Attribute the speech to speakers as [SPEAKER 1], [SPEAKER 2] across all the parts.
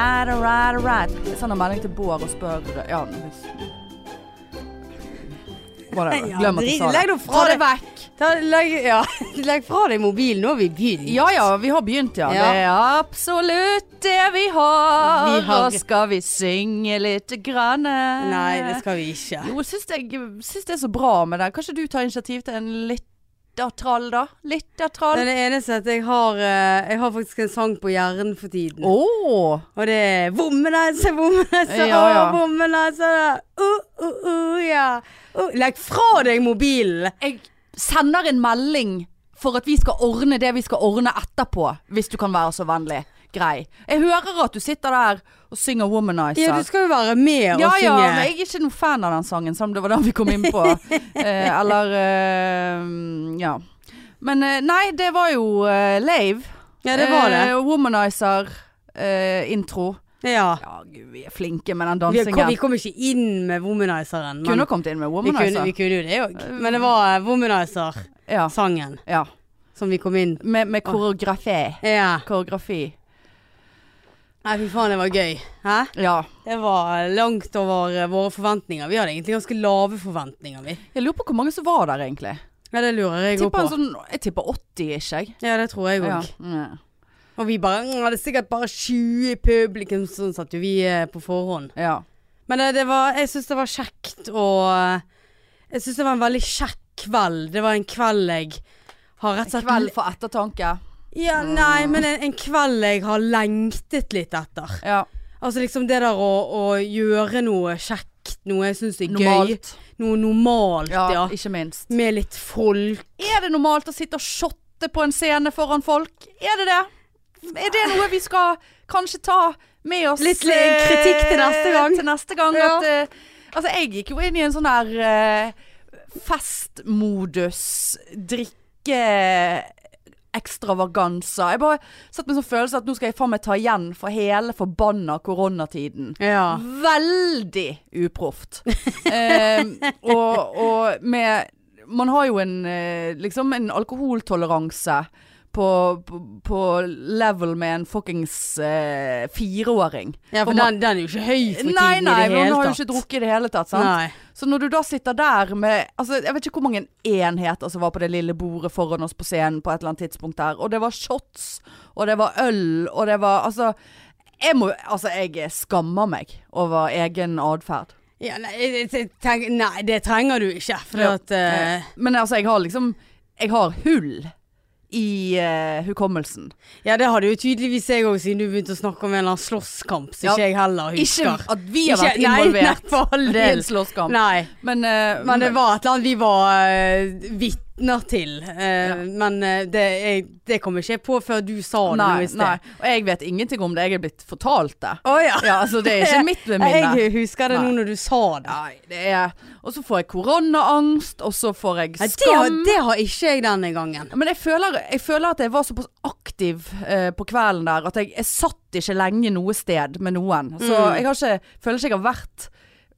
[SPEAKER 1] All right. Send en melding til Bård og spør Ja, hvis Whatever.
[SPEAKER 2] Ja,
[SPEAKER 1] Glem at jeg
[SPEAKER 2] drit-
[SPEAKER 1] sa
[SPEAKER 2] legg
[SPEAKER 1] det.
[SPEAKER 2] nå fra
[SPEAKER 1] Ta det
[SPEAKER 2] deg.
[SPEAKER 1] vekk.
[SPEAKER 2] Ta, legg, ja, legg fra deg mobilen, nå har vi begynt.
[SPEAKER 1] Ja ja, vi har begynt, ja.
[SPEAKER 2] Ja.
[SPEAKER 1] Det er absolutt det vi har.
[SPEAKER 2] Vi har-
[SPEAKER 1] Og skal vi synge lite grann?
[SPEAKER 2] Nei, det skal vi ikke.
[SPEAKER 1] Jo, jeg syns, jeg syns det er så bra med det. Kanskje du tar initiativ til en lyttertrall, da?
[SPEAKER 2] Det
[SPEAKER 1] Lyttertrall.
[SPEAKER 2] er det eneste at jeg har eh, Jeg har faktisk en sang på hjernen for tiden.
[SPEAKER 1] Å!
[SPEAKER 2] Og det er Vommenesse, vommenesse,
[SPEAKER 1] Ja,
[SPEAKER 2] å,
[SPEAKER 1] ja.
[SPEAKER 2] vommenesse. Uh, uh, uh, ja. Uh, legg fra deg mobilen!
[SPEAKER 1] Jeg sender en melding for at vi skal ordne det vi skal ordne etterpå, hvis du kan være så vennlig. Grei. Jeg hører at du sitter der og synger 'Womanizer'.
[SPEAKER 2] Ja, du skal jo være med og
[SPEAKER 1] ja,
[SPEAKER 2] synge.
[SPEAKER 1] ja, men jeg er ikke noen fan av den sangen, som det var den vi kom inn på. eh, eller eh, ja. Men eh, nei, det var jo eh, Lave.
[SPEAKER 2] Ja, det var det.
[SPEAKER 1] Eh, Womanizer-intro.
[SPEAKER 2] Ja.
[SPEAKER 1] ja, gud, vi er flinke med den
[SPEAKER 2] Vi kom,
[SPEAKER 1] dansingen.
[SPEAKER 2] vi kom ikke inn med Womanizeren.
[SPEAKER 1] kunne kommet inn med
[SPEAKER 2] vi kunne,
[SPEAKER 1] Womanizer.
[SPEAKER 2] vi kunne jo det òg. Men det var eh, Womanizer-sangen
[SPEAKER 1] Ja, ja.
[SPEAKER 2] som vi kom inn
[SPEAKER 1] Med, med koreografi.
[SPEAKER 2] Ja.
[SPEAKER 1] Koreografi.
[SPEAKER 2] Nei, fy faen, det var gøy. Hæ?
[SPEAKER 1] Ja.
[SPEAKER 2] Det var langt over eh, våre forventninger. Vi hadde egentlig ganske lave forventninger, vi.
[SPEAKER 1] Jeg lurer på hvor mange som var der, egentlig.
[SPEAKER 2] Ja, det lurer jeg
[SPEAKER 1] Jeg
[SPEAKER 2] òg på.
[SPEAKER 1] tipper, en sånn, jeg tipper 80, ikke jeg?
[SPEAKER 2] Ja, det tror jeg òg.
[SPEAKER 1] Ja. Mm.
[SPEAKER 2] Og vi bare «Mm, hadde sikkert bare 20 publikum, sånn satt jo vi eh, på forhånd.
[SPEAKER 1] ja.
[SPEAKER 2] Men eh, det, det var, jeg syns det var kjekt og eh, Jeg syns det var en veldig kjekk kveld. Det var en kveld jeg har rett og slett
[SPEAKER 1] Kveld for ettertanke.
[SPEAKER 2] Ja, nei, men en, en kveld jeg har lengtet litt etter.
[SPEAKER 1] Ja.
[SPEAKER 2] Altså liksom det der å, å gjøre noe kjekt, noe jeg syns er gøy.
[SPEAKER 1] Normalt.
[SPEAKER 2] Noe normalt,
[SPEAKER 1] Ja,
[SPEAKER 2] ja.
[SPEAKER 1] ikke minst.
[SPEAKER 2] Med litt folk.
[SPEAKER 1] Er det normalt å sitte og shotte på en scene foran folk? Er det det? Er det noe vi skal kanskje ta med oss?
[SPEAKER 2] Litt, eh, kritikk til neste gang.
[SPEAKER 1] Til neste gang
[SPEAKER 2] Ja.
[SPEAKER 1] at, eh, altså, jeg gikk jo inn i en sånn her eh, festmodus, drikke ekstravaganser. Jeg bare satt med en sånn følelse at nå skal jeg faen meg ta igjen for hele forbanna koronatiden.
[SPEAKER 2] Ja.
[SPEAKER 1] Veldig uproft. Eh, og, og med Man har jo en, eh, liksom en alkoholtoleranse på, på, på level med en fuckings eh, fireåring.
[SPEAKER 2] ja,
[SPEAKER 1] Og
[SPEAKER 2] for
[SPEAKER 1] man-
[SPEAKER 2] den, den er jo ikke høy for tiden
[SPEAKER 1] Nei, nei,
[SPEAKER 2] i det
[SPEAKER 1] men
[SPEAKER 2] hele tatt.
[SPEAKER 1] hun har jo ikke drukket i det hele tatt. Sant?
[SPEAKER 2] Nei.
[SPEAKER 1] Så når du da sitter der med altså, Jeg vet ikke hvor mange enheter som var på det lille bordet foran oss på scenen på et eller annet tidspunkt der. Og det var shots, og det var øl, og det var Altså, jeg, må, altså, jeg skammer meg over egen atferd.
[SPEAKER 2] Ja, nei, jeg- jeg tenker- nei, det trenger du ikke. For
[SPEAKER 1] Ja.
[SPEAKER 2] at eh,
[SPEAKER 1] Men altså, jeg har liksom Jeg har hull i eh, hukommelsen.
[SPEAKER 2] Ja, det hadde jo tydeligvis jeg òg, siden du begynte å snakke om en eller annen slåsskamp som
[SPEAKER 1] Ja.
[SPEAKER 2] ikke jeg heller
[SPEAKER 1] Ikke
[SPEAKER 2] husker.
[SPEAKER 1] at vi har vært
[SPEAKER 2] Ikke- nei,
[SPEAKER 1] involvert
[SPEAKER 2] Nei, for all
[SPEAKER 1] i en
[SPEAKER 2] del.
[SPEAKER 1] slåsskamp.
[SPEAKER 2] Nei.
[SPEAKER 1] Men, eh,
[SPEAKER 2] Men det var et eller annet vi var eh, vitner til. eh,
[SPEAKER 1] Ja.
[SPEAKER 2] Men eh, det, jeg, det kom ikke jeg på før du sa det nå
[SPEAKER 1] Nei, nei.
[SPEAKER 2] i sted.
[SPEAKER 1] Og jeg vet ingenting om det. Jeg er blitt fortalt det.
[SPEAKER 2] Å ja.
[SPEAKER 1] Ja, altså, det er ikke mitt minne.
[SPEAKER 2] Jeg husker det
[SPEAKER 1] Nei.
[SPEAKER 2] nå når du sa det.
[SPEAKER 1] Nei, det er Og så får jeg koronaangst, og så får jeg
[SPEAKER 2] Nei,
[SPEAKER 1] skam.
[SPEAKER 2] det, har, det har ikke jeg denne gangen.
[SPEAKER 1] Men jeg føler, jeg føler at jeg var såpass aktiv eh, på kvelden der at jeg, jeg satt ikke lenge noe sted med noen. Så
[SPEAKER 2] Mm.
[SPEAKER 1] jeg har ikke, føler ikke jeg har vært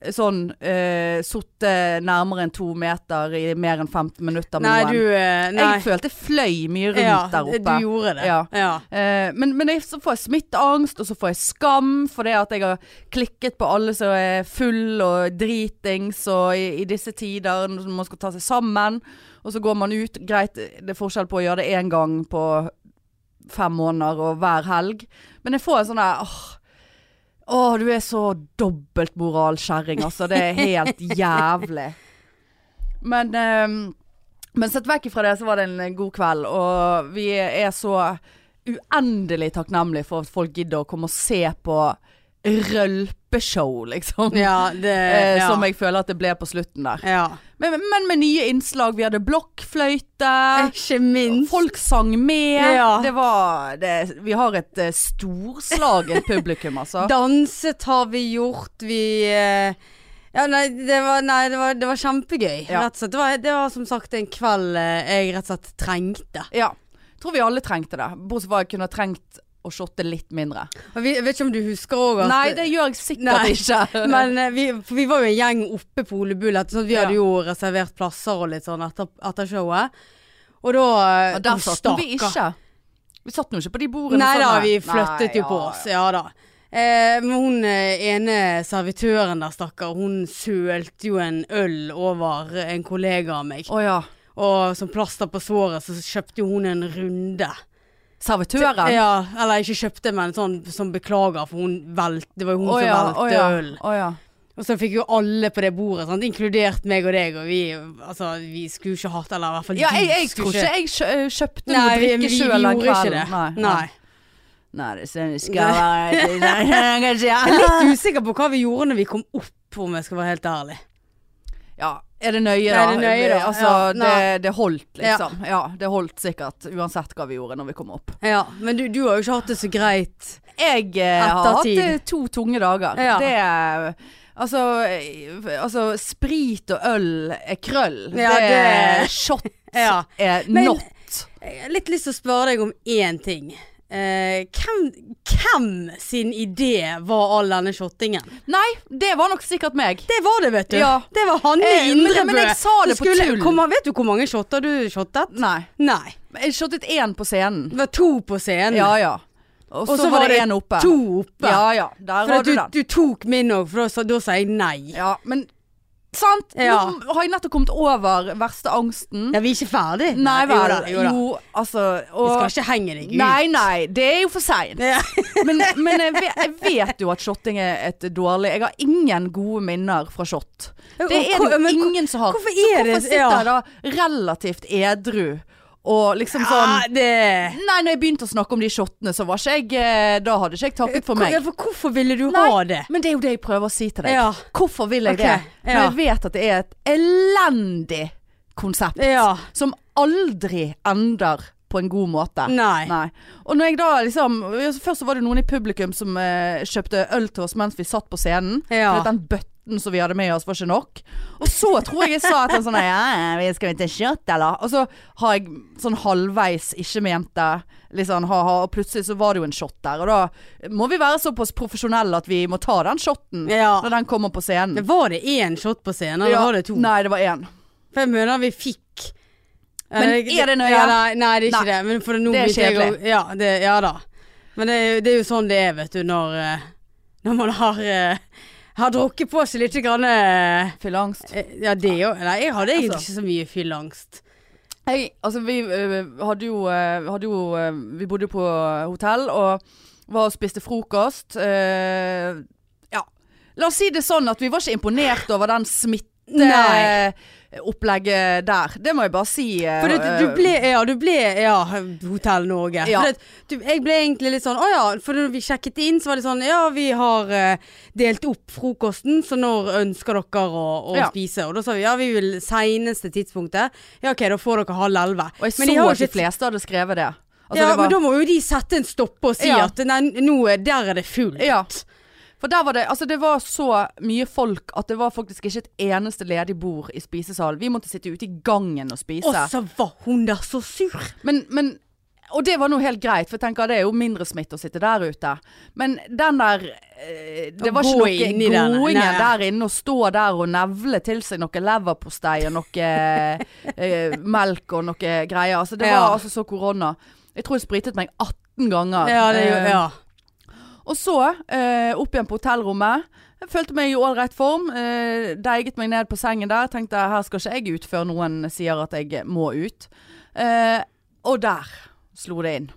[SPEAKER 1] eh, sånn eh, Sittet nærmere enn to meter i mer enn 15 minutter med
[SPEAKER 2] Nei, du
[SPEAKER 1] noen.
[SPEAKER 2] eh, Nei.
[SPEAKER 1] Jeg følte jeg fløy mye rundt
[SPEAKER 2] Ja,
[SPEAKER 1] der oppe.
[SPEAKER 2] Du gjorde det.
[SPEAKER 1] Ja.
[SPEAKER 2] ja.
[SPEAKER 1] Eh, men men jeg, så får jeg smitteangst, og så får jeg skam fordi at jeg har klikket på alle som er full og dritings og i, i disse tider når man skal ta seg sammen. Og så går man ut. Greit, det er forskjell på å gjøre det én gang på fem måneder og hver helg. Men jeg får en sånn der åh, åh, du er så dobbeltmoralskjerring, altså. Det er helt jævlig. Men eh, men sett vekk fra det, så var det en god kveld, og vi er så uendelig takknemlige for at folk gidder å komme og se på rølpeshow, liksom.
[SPEAKER 2] ja det
[SPEAKER 1] Eh,
[SPEAKER 2] ja.
[SPEAKER 1] Som jeg føler at det ble på slutten der.
[SPEAKER 2] ja.
[SPEAKER 1] Men, men med nye innslag. Vi hadde blokkfløyte.
[SPEAKER 2] Ikke minst.
[SPEAKER 1] Folk sang med.
[SPEAKER 2] Ja.
[SPEAKER 1] Det var det, Vi har et eh, storslaget publikum, altså.
[SPEAKER 2] Danset har vi gjort, vi eh, ja, nei, det var, nei, det var, det var kjempegøy.
[SPEAKER 1] Ja.
[SPEAKER 2] Rett og slett. Det, var, det var som sagt en kveld eh, jeg rett og slett trengte.
[SPEAKER 1] Ja. Tror vi alle trengte det. Bortsett fra at jeg kunne trengt å shotte litt mindre.
[SPEAKER 2] Og vi, jeg vet ikke om du husker òg at
[SPEAKER 1] Nei, det gjør jeg sikkert
[SPEAKER 2] Nei.
[SPEAKER 1] ikke.
[SPEAKER 2] men eh, vi, for vi var jo en gjeng oppe på Ole Bull. etter- sånn at vi
[SPEAKER 1] Ja.
[SPEAKER 2] hadde jo reservert plasser og litt sånn etter, etter showet. Og da eh,
[SPEAKER 1] Ja, der
[SPEAKER 2] å,
[SPEAKER 1] satt vi
[SPEAKER 2] stakkar.
[SPEAKER 1] ikke. Vi satt nå ikke på de bordene.
[SPEAKER 2] Nei da,
[SPEAKER 1] sånn,
[SPEAKER 2] vi flyttet jo på oss. Ja da. Eh, men hun eh, ene servitøren der, stakkar, hun sølte jo en øl over en kollega av meg.
[SPEAKER 1] Å ja.
[SPEAKER 2] Og som plaster på såret så kjøpte jo hun en runde.
[SPEAKER 1] Servitøren?
[SPEAKER 2] Ja, eller ikke kjøpte, men sånn som beklager, for hun velte. Det var jo hun
[SPEAKER 1] Å
[SPEAKER 2] som
[SPEAKER 1] ja,
[SPEAKER 2] velte
[SPEAKER 1] å ja,
[SPEAKER 2] øl.
[SPEAKER 1] å ja.
[SPEAKER 2] Og så fikk jo alle på det bordet, sant? inkludert meg og deg. Og vi, altså, vi skulle jo ikke hatt Eller i hvert fall
[SPEAKER 1] Ja, jeg,
[SPEAKER 2] du
[SPEAKER 1] jeg tror ikke jeg kjø kjøpte noe
[SPEAKER 2] Nei, vi, vi,
[SPEAKER 1] drikke
[SPEAKER 2] vi
[SPEAKER 1] sjøl den
[SPEAKER 2] gjorde ikke det.
[SPEAKER 1] kvelden.
[SPEAKER 2] Nei.
[SPEAKER 1] Nei, det synes jeg skal være Nei, kanskje,
[SPEAKER 2] Jeg
[SPEAKER 1] ja.
[SPEAKER 2] er litt usikker på hva vi gjorde når vi kom opp, om jeg skal være helt ærlig.
[SPEAKER 1] ja. Er det nøye, da?
[SPEAKER 2] Er det nøye, da?
[SPEAKER 1] Altså,
[SPEAKER 2] Ja,
[SPEAKER 1] det,
[SPEAKER 2] nei.
[SPEAKER 1] det holdt, liksom. Ja. det holdt sikkert. Uansett hva vi gjorde når vi kom opp.
[SPEAKER 2] Ja, Men du, du har jo ikke hatt det så greit.
[SPEAKER 1] Jeg eh, har hatt
[SPEAKER 2] Ettertid.
[SPEAKER 1] eh, to tunge dager.
[SPEAKER 2] Ja.
[SPEAKER 1] Det er Altså, eh, altså, sprit og øl er krøll.
[SPEAKER 2] Ja,
[SPEAKER 1] det, er
[SPEAKER 2] det-
[SPEAKER 1] shot
[SPEAKER 2] Ja.
[SPEAKER 1] er
[SPEAKER 2] Men-
[SPEAKER 1] not.
[SPEAKER 2] Jeg har litt lyst til å spørre deg om én ting. Eh, hvem, hvem sin idé var all denne shottingen?
[SPEAKER 1] Nei, det var nok sikkert meg.
[SPEAKER 2] Det var det, vet du.
[SPEAKER 1] Ja.
[SPEAKER 2] Det var Hanne
[SPEAKER 1] Eh, men-
[SPEAKER 2] Indrebø.
[SPEAKER 1] men jeg sa
[SPEAKER 2] som
[SPEAKER 1] det på
[SPEAKER 2] skulle-
[SPEAKER 1] tull.
[SPEAKER 2] Hvor ma- Vet du hvor mange shotter du shottet?
[SPEAKER 1] Nei.
[SPEAKER 2] Nei.
[SPEAKER 1] Jeg shottet én på scenen.
[SPEAKER 2] Det var to på scenen.
[SPEAKER 1] Ja ja. Og så var det én oppe.
[SPEAKER 2] To oppe.
[SPEAKER 1] Ja ja, der
[SPEAKER 2] for
[SPEAKER 1] har
[SPEAKER 2] at
[SPEAKER 1] du
[SPEAKER 2] du,
[SPEAKER 1] den.
[SPEAKER 2] du tok min òg, for da sa- da sa jeg nei.
[SPEAKER 1] Ja, men Sant?
[SPEAKER 2] Ja.
[SPEAKER 1] Nå har jeg nettopp kommet over verste angsten.
[SPEAKER 2] Ja, vi er ikke ferdig.
[SPEAKER 1] Nei
[SPEAKER 2] Jo
[SPEAKER 1] vel.
[SPEAKER 2] da,
[SPEAKER 1] Jo,
[SPEAKER 2] Jo da.
[SPEAKER 1] altså
[SPEAKER 2] Vi
[SPEAKER 1] og,
[SPEAKER 2] skal ikke henge deg ut.
[SPEAKER 1] Nei, nei. Det er jo for seint.
[SPEAKER 2] Ja.
[SPEAKER 1] Men, men jeg, vet, jeg vet jo at shotting er et dårlig Jeg har ingen gode minner fra shot.
[SPEAKER 2] Og
[SPEAKER 1] Det er
[SPEAKER 2] hvor-
[SPEAKER 1] det jo
[SPEAKER 2] men hvor-
[SPEAKER 1] ingen som har.
[SPEAKER 2] hvorfor
[SPEAKER 1] Så
[SPEAKER 2] er det-
[SPEAKER 1] hvorfor sitter
[SPEAKER 2] ja.
[SPEAKER 1] jeg da relativt edru og liksom sånn
[SPEAKER 2] Ja, det
[SPEAKER 1] Nei, når jeg begynte å snakke om de shottene, så var ikke jeg eh, Da hadde ikke jeg takket for meg.
[SPEAKER 2] Ja, for hvorfor ville du
[SPEAKER 1] Nei,
[SPEAKER 2] ha det?
[SPEAKER 1] Men det er jo det jeg prøver å si til deg.
[SPEAKER 2] Ja.
[SPEAKER 1] Hvorfor vil jeg
[SPEAKER 2] Ok,
[SPEAKER 1] det? Når
[SPEAKER 2] ja.
[SPEAKER 1] jeg vet at det er et elendig konsept
[SPEAKER 2] Ja.
[SPEAKER 1] som aldri ender på en god måte.
[SPEAKER 2] Nei.
[SPEAKER 1] Og når jeg da liksom Først så var det noen i publikum som eh, kjøpte øl til oss mens vi satt på scenen.
[SPEAKER 2] Ja.
[SPEAKER 1] For at den bøtten som vi hadde med oss, var ikke nok. Og så tror jeg jeg sa et eller annet sånn Ja, vi skal vi til kjøtt, eller? Og så har jeg sånn halvveis ikke ment det. Litt sånn ha-ha. Og plutselig så var det jo en shot der. Og da må vi være såpass profesjonelle at vi må ta den shoten
[SPEAKER 2] Ja.
[SPEAKER 1] når den kommer på scenen.
[SPEAKER 2] Men Var det én shot på scenen, eller
[SPEAKER 1] Ja.
[SPEAKER 2] var det to?
[SPEAKER 1] Nei, det var én.
[SPEAKER 2] For jeg mener vi fikk
[SPEAKER 1] Men
[SPEAKER 2] Eh,
[SPEAKER 1] er det nøye?
[SPEAKER 2] Ja, nei, nei, det er
[SPEAKER 1] Nei.
[SPEAKER 2] ikke det. Men for nå
[SPEAKER 1] Det er
[SPEAKER 2] begynte jeg å-
[SPEAKER 1] kjedelig.
[SPEAKER 2] Ja, det, ja da. Men det, er jo- det er jo sånn det er, vet du, når, eh, når man har, eh, har drukket på seg litt grann eh,
[SPEAKER 1] Fylleangst.
[SPEAKER 2] Eh, Ja, det jo. Nei, jeg hadde egentlig
[SPEAKER 1] Altså.
[SPEAKER 2] ikke så mye fylleangst.
[SPEAKER 1] Hei, altså vi eh, hadde jo, eh, hadde jo eh, Vi bodde jo på hotell og var og spiste frokost. eh, ja. La oss si det sånn at vi var ikke imponert over den
[SPEAKER 2] Nei.
[SPEAKER 1] smitteopplegget der. Det må jeg bare si. eh,
[SPEAKER 2] For det, du ble, ja, du ble ja, Hotell Norge.
[SPEAKER 1] Ja.
[SPEAKER 2] For det, du, jeg ble egentlig litt sånn, å ja, for når vi sjekket inn så var det sånn, ja, vi har eh, delt opp frokosten, så når ønsker dere å, å
[SPEAKER 1] Ja.
[SPEAKER 2] spise? Og da sa vi, ja, vi vil seneste tidspunktet. Ja, ok, da får dere halv elve.
[SPEAKER 1] Og jeg så
[SPEAKER 2] Men de har jo
[SPEAKER 1] at de
[SPEAKER 2] ikke-
[SPEAKER 1] fleste hadde skrevet det. Altså,
[SPEAKER 2] ja,
[SPEAKER 1] det var,
[SPEAKER 2] men da må jo de sette en stopp og si
[SPEAKER 1] Ja.
[SPEAKER 2] at nei, nå er, der er det fullt.
[SPEAKER 1] ja. For der var det Altså, det var så mye folk at det var faktisk ikke et eneste ledig bord i spisesalen. Vi måtte sitte ute i gangen og spise.
[SPEAKER 2] Og så var hun der så sur.
[SPEAKER 1] Men, men og det var nå helt greit, for jeg tenker det er jo mindre smitte å sitte der ute. Men den der eh, Det
[SPEAKER 2] Å
[SPEAKER 1] var
[SPEAKER 2] gå
[SPEAKER 1] ikke
[SPEAKER 2] inn i
[SPEAKER 1] noe
[SPEAKER 2] den, nei,
[SPEAKER 1] gåingen
[SPEAKER 2] nei.
[SPEAKER 1] der inne og stå der og nevle til seg noe leverpostei og noe eh, melk og noe greier. Altså, det
[SPEAKER 2] Ja.
[SPEAKER 1] var altså så korona. Jeg tror jeg spritet meg 18 ganger.
[SPEAKER 2] Ja, det,
[SPEAKER 1] Eh,
[SPEAKER 2] ja.
[SPEAKER 1] og så eh, opp igjen på hotellrommet. Jeg følte meg i ålreit form. Eh, deiget meg ned på sengen der. Tenkte her skal ikke jeg ut før noen sier at jeg må ut. Eh, og der slo det inn.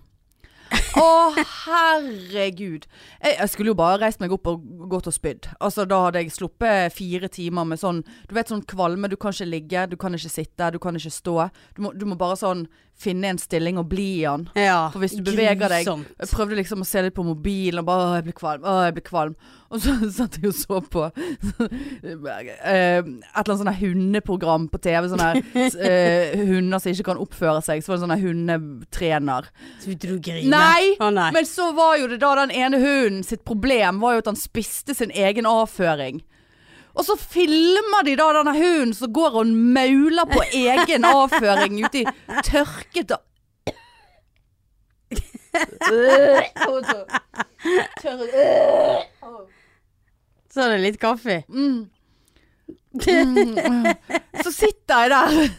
[SPEAKER 1] Å, herregud. Jeg, jeg skulle jo bare reist meg opp og gått og spydd. Altså, da hadde jeg sluppet fire timer med sånn Du vet sånn kvalme. Du kan ikke ligge, du kan ikke sitte, du kan ikke stå. Du må, du må bare sånn finne en stilling og bli i den.
[SPEAKER 2] Ja.
[SPEAKER 1] For hvis du beveger deg
[SPEAKER 2] Grusomt.
[SPEAKER 1] Jeg prøvde liksom å se litt på mobilen og bare Å, jeg blir kvalm. Å, jeg blir kvalm. Og så satt jeg og så på eh, et eller annet sånn her hundeprogram på TV. Sånne her eh, hunder som ikke kan oppføre seg. Så var det sånn her hundetrener.
[SPEAKER 2] Begynte du å grine?
[SPEAKER 1] Nei,
[SPEAKER 2] Å, nei.
[SPEAKER 1] Men så var jo det da den ene hunden sitt problem var jo at han spiste sin egen avføring. Og så filmer de da denne hunden som går og mauler på egen avføring ute i tørket og Og så tørr-
[SPEAKER 2] Så er det litt kaffe.
[SPEAKER 1] Mm. Mm. Så sitter jeg der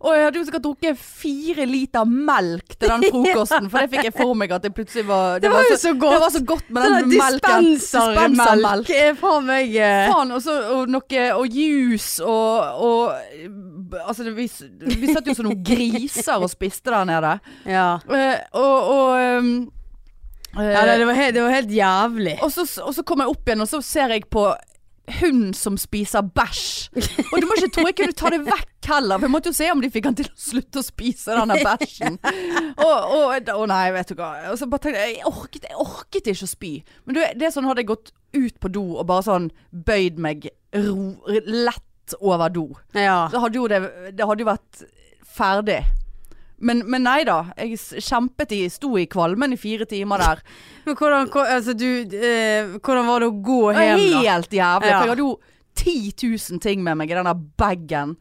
[SPEAKER 1] Og jeg hadde jo sikkert drukket fire liter melk til den frokosten, for det fikk jeg for meg at det plutselig var
[SPEAKER 2] Det var jo så godt.
[SPEAKER 1] Det var så godt med
[SPEAKER 2] Sånn
[SPEAKER 1] den melken. Dispensermelk.
[SPEAKER 2] dispensermelk er faen meg eh,
[SPEAKER 1] Faen, og så og noe Og juice og, og b- Altså, det, vi, s- vi satt jo som noen griser og spiste der nede.
[SPEAKER 2] Ja.
[SPEAKER 1] Eh, og og ehm, eh,
[SPEAKER 2] Ja, det, det, var helt, det var helt jævlig.
[SPEAKER 1] og så, og så kom jeg opp igjen, og så ser jeg på hund som spiser bæsj. Og du må ikke tro jeg kunne ta det vekk heller, for jeg måtte jo se om de fikk han til å slutte å spise denne bæsjen. Og, og, og nei, vet du hva. Og så bare tenkte jeg, jeg orket, jeg orket ikke å spy. Men du, det er sånn hadde jeg gått ut på do og bare sånn bøyd meg ro, lett over do.
[SPEAKER 2] Ja.
[SPEAKER 1] Så hadde jo det, det hadde jo vært ferdig. Men, men nei da. Jeg s- kjempet i, sto i kvalmen i fire timer der.
[SPEAKER 2] Men hvordan, ko- altså, du, eh, hvordan var det å gå hjem, da?
[SPEAKER 1] Helt jævlig.
[SPEAKER 2] Ja.
[SPEAKER 1] For jeg hadde jo 10 000 ting med meg i denne bagen.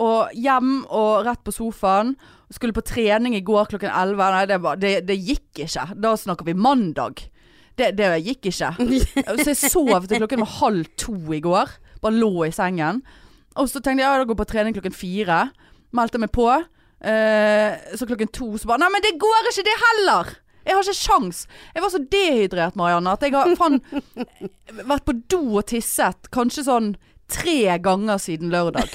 [SPEAKER 1] Og hjem og rett på sofaen. Skulle på trening i går klokken 11. Nei, det, var, det, det gikk ikke. Da snakker vi mandag. Det, det gikk ikke. Så jeg sov til klokken var halv to i går. Bare lå i sengen. Og så tenkte jeg ja, da går jeg på trening klokken fire. Meldte meg på. Eh, så klokken to så bare Nei, men det går ikke, det heller! Jeg har ikke sjans. Jeg var så dehydrert, Marianne, at jeg har faen vært på do og tisset kanskje sånn tre ganger siden lørdag.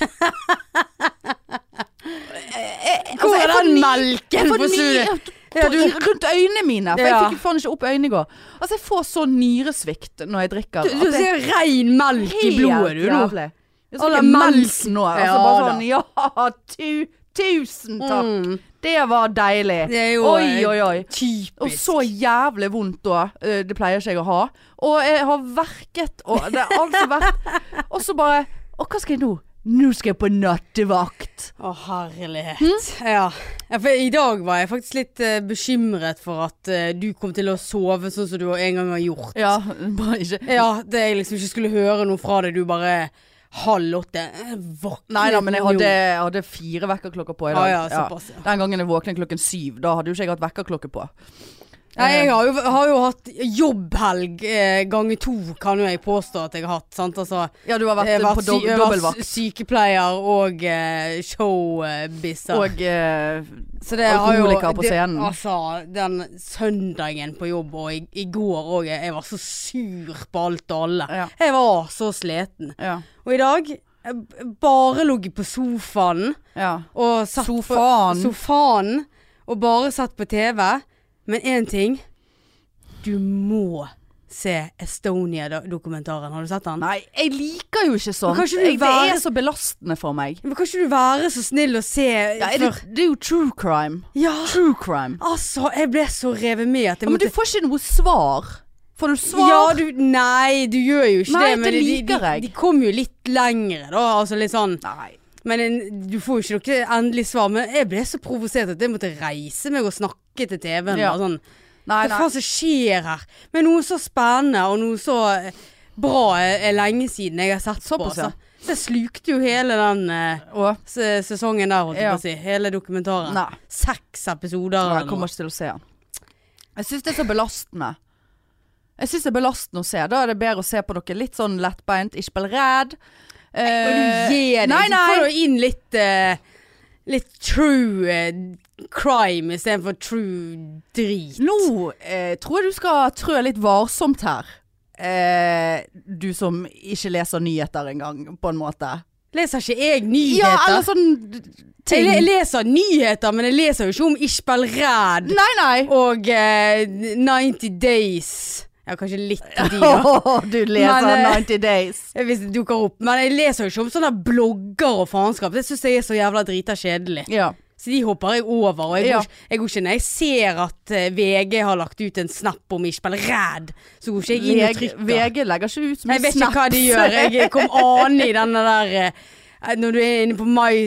[SPEAKER 1] Altså,
[SPEAKER 2] Hvor
[SPEAKER 1] jeg
[SPEAKER 2] er
[SPEAKER 1] får
[SPEAKER 2] den
[SPEAKER 1] ny-
[SPEAKER 2] melken på suret? Ja, du-
[SPEAKER 1] Rundt øynene mine, for jeg
[SPEAKER 2] Ja.
[SPEAKER 1] fikk faen ikke opp øynene i går. Altså, jeg får så nyresvikt når jeg drikker.
[SPEAKER 2] Du, du
[SPEAKER 1] at jeg-
[SPEAKER 2] ser rein melk i blodet, du nå.
[SPEAKER 1] Jævlig. Jeg
[SPEAKER 2] All
[SPEAKER 1] snakker
[SPEAKER 2] den
[SPEAKER 1] mens nå. Altså,
[SPEAKER 2] Ja
[SPEAKER 1] bare
[SPEAKER 2] da.
[SPEAKER 1] sånn, ja, tu, tusen takk.
[SPEAKER 2] Mm.
[SPEAKER 1] Det var deilig.
[SPEAKER 2] Det er jo
[SPEAKER 1] oi,
[SPEAKER 2] eh,
[SPEAKER 1] oi, oi. Og
[SPEAKER 2] typisk.
[SPEAKER 1] så jævlig vondt da. Eh, Det pleier ikke jeg å ha. Og jeg har verket og det har altså vært Og så bare Og hva skal jeg nå? Nå skal jeg på nattevakt.
[SPEAKER 2] Å, herlighet.
[SPEAKER 1] Hm?
[SPEAKER 2] Ja. ja, for i dag var jeg faktisk litt eh, bekymret for at eh, du kom til å sove sånn som du en gang har gjort.
[SPEAKER 1] Ja, bare ikke
[SPEAKER 2] Ja, det jeg liksom ikke skulle høre noe fra deg. Du bare halv åtte. eh, Våkne
[SPEAKER 1] Nei da, men jeg
[SPEAKER 2] nå.
[SPEAKER 1] hadde, jeg hadde fire vekkerklokker på i dag.
[SPEAKER 2] Ah, ja, såpass, ja.
[SPEAKER 1] Den gangen jeg våknet klokken syv, da hadde jo ikke jeg hatt vekkerklokke på.
[SPEAKER 2] Nei,
[SPEAKER 1] Eh.
[SPEAKER 2] jeg har jo, har jo hatt jobbhelg eh, ganger to, kan jo jeg påstå at jeg har hatt. Sant? Altså,
[SPEAKER 1] Ja, du har vært
[SPEAKER 2] jeg
[SPEAKER 1] eh,
[SPEAKER 2] var,
[SPEAKER 1] på
[SPEAKER 2] sy
[SPEAKER 1] do
[SPEAKER 2] jeg var
[SPEAKER 1] dobbeltvakt.
[SPEAKER 2] sy- sykepleier og eh, showbisser.
[SPEAKER 1] Og eh,
[SPEAKER 2] Så det har jo-
[SPEAKER 1] alkoholiker på
[SPEAKER 2] det-
[SPEAKER 1] scenen.
[SPEAKER 2] Altså, den søndagen på jobb og i, i går òg, jeg jeg var så sur på alt og alle.
[SPEAKER 1] Ja.
[SPEAKER 2] Jeg var så sleten.
[SPEAKER 1] ja.
[SPEAKER 2] Og i dag jeg b- bare ligget på sofaen
[SPEAKER 1] ja.
[SPEAKER 2] og satt
[SPEAKER 1] Sofaen.
[SPEAKER 2] på sofaen og bare satt på TV. Men én ting. Du må se Estonia-dokumentaren. Har du sett den?
[SPEAKER 1] Nei, jeg liker jo ikke sånt.
[SPEAKER 2] Men kan ikke du
[SPEAKER 1] Jeg, det
[SPEAKER 2] være-
[SPEAKER 1] er så belastende for meg.
[SPEAKER 2] Men kan ikke du være så snill å se
[SPEAKER 1] Ja, er det,
[SPEAKER 2] før-
[SPEAKER 1] det er jo true crime.
[SPEAKER 2] ja,
[SPEAKER 1] True crime.
[SPEAKER 2] altså, jeg ble så revet med at
[SPEAKER 1] Ja,
[SPEAKER 2] jeg
[SPEAKER 1] men
[SPEAKER 2] måtte
[SPEAKER 1] du får ikke noe svar. Får du svar?
[SPEAKER 2] Ja, du, nei, du gjør jo ikke
[SPEAKER 1] Nei,
[SPEAKER 2] det.
[SPEAKER 1] det
[SPEAKER 2] de-
[SPEAKER 1] liker
[SPEAKER 2] de,
[SPEAKER 1] jeg.
[SPEAKER 2] de, de kom jo litt lengre, da. Altså litt sånn.
[SPEAKER 1] Nei.
[SPEAKER 2] Men en, du får jo ikke noe endelig svar. Men jeg ble så provosert at jeg måtte reise meg og snakke til TV-en.
[SPEAKER 1] Ja.
[SPEAKER 2] bare Sånn,
[SPEAKER 1] Nei,
[SPEAKER 2] Hva
[SPEAKER 1] nei.
[SPEAKER 2] faen som skjer her? Men noe så spennende og noe så eh, bra eh, er lenge siden jeg har sett
[SPEAKER 1] Såpass,
[SPEAKER 2] på.
[SPEAKER 1] ja.
[SPEAKER 2] Så, så jeg slukte jo hele den eh,
[SPEAKER 1] Å,
[SPEAKER 2] se- sesongen der, holdt jeg
[SPEAKER 1] Ja.
[SPEAKER 2] på å si. Hele dokumentaren.
[SPEAKER 1] Nei.
[SPEAKER 2] Seks episoder.
[SPEAKER 1] nei,
[SPEAKER 2] eller
[SPEAKER 1] jeg kommer
[SPEAKER 2] noe.
[SPEAKER 1] ikke til å se den. Jeg syns det er så belastende. Jeg syns det er belastende å se. Da er det bedre å se på noe litt sånn lettbeint. Ikke bli redd.
[SPEAKER 2] Må
[SPEAKER 1] Eh,
[SPEAKER 2] du gi deg.
[SPEAKER 1] Nei,
[SPEAKER 2] Du
[SPEAKER 1] nei.
[SPEAKER 2] får jo inn litt eh, Litt true eh, crime istedenfor true drit.
[SPEAKER 1] Nå eh, tror jeg du skal trø litt varsomt her. Eh, du som ikke leser nyheter engang, på en måte.
[SPEAKER 2] Leser ikke jeg nyheter?
[SPEAKER 1] Ja, eller sånn
[SPEAKER 2] jeg,
[SPEAKER 1] ting.
[SPEAKER 2] le- leser nyheter, men jeg leser jo ikke om Ishbel Ræd
[SPEAKER 1] Nei, nei.
[SPEAKER 2] og eh, 90 Days. Ja, kanskje litt av de, da.
[SPEAKER 1] Åh, du leser
[SPEAKER 2] Men, eh,
[SPEAKER 1] 90 Days.
[SPEAKER 2] Hvis det dukker opp. Men jeg leser jo ikke om sånne blogger og faenskap. Det syns jeg er så jævla drita kjedelig.
[SPEAKER 1] Ja.
[SPEAKER 2] Så de hopper jeg over. Og jeg,
[SPEAKER 1] Ja.
[SPEAKER 2] går, ikke- jeg går ikke når jeg ser at eh, VG har lagt ut en snap om Ishbel Ræd, så går ikke jeg inn og
[SPEAKER 1] VG,
[SPEAKER 2] trykker.
[SPEAKER 1] VG legger ikke ut så mye
[SPEAKER 2] jeg vet ikke hva de gjør. Jeg kom an i denne der eh, Når du er inne på My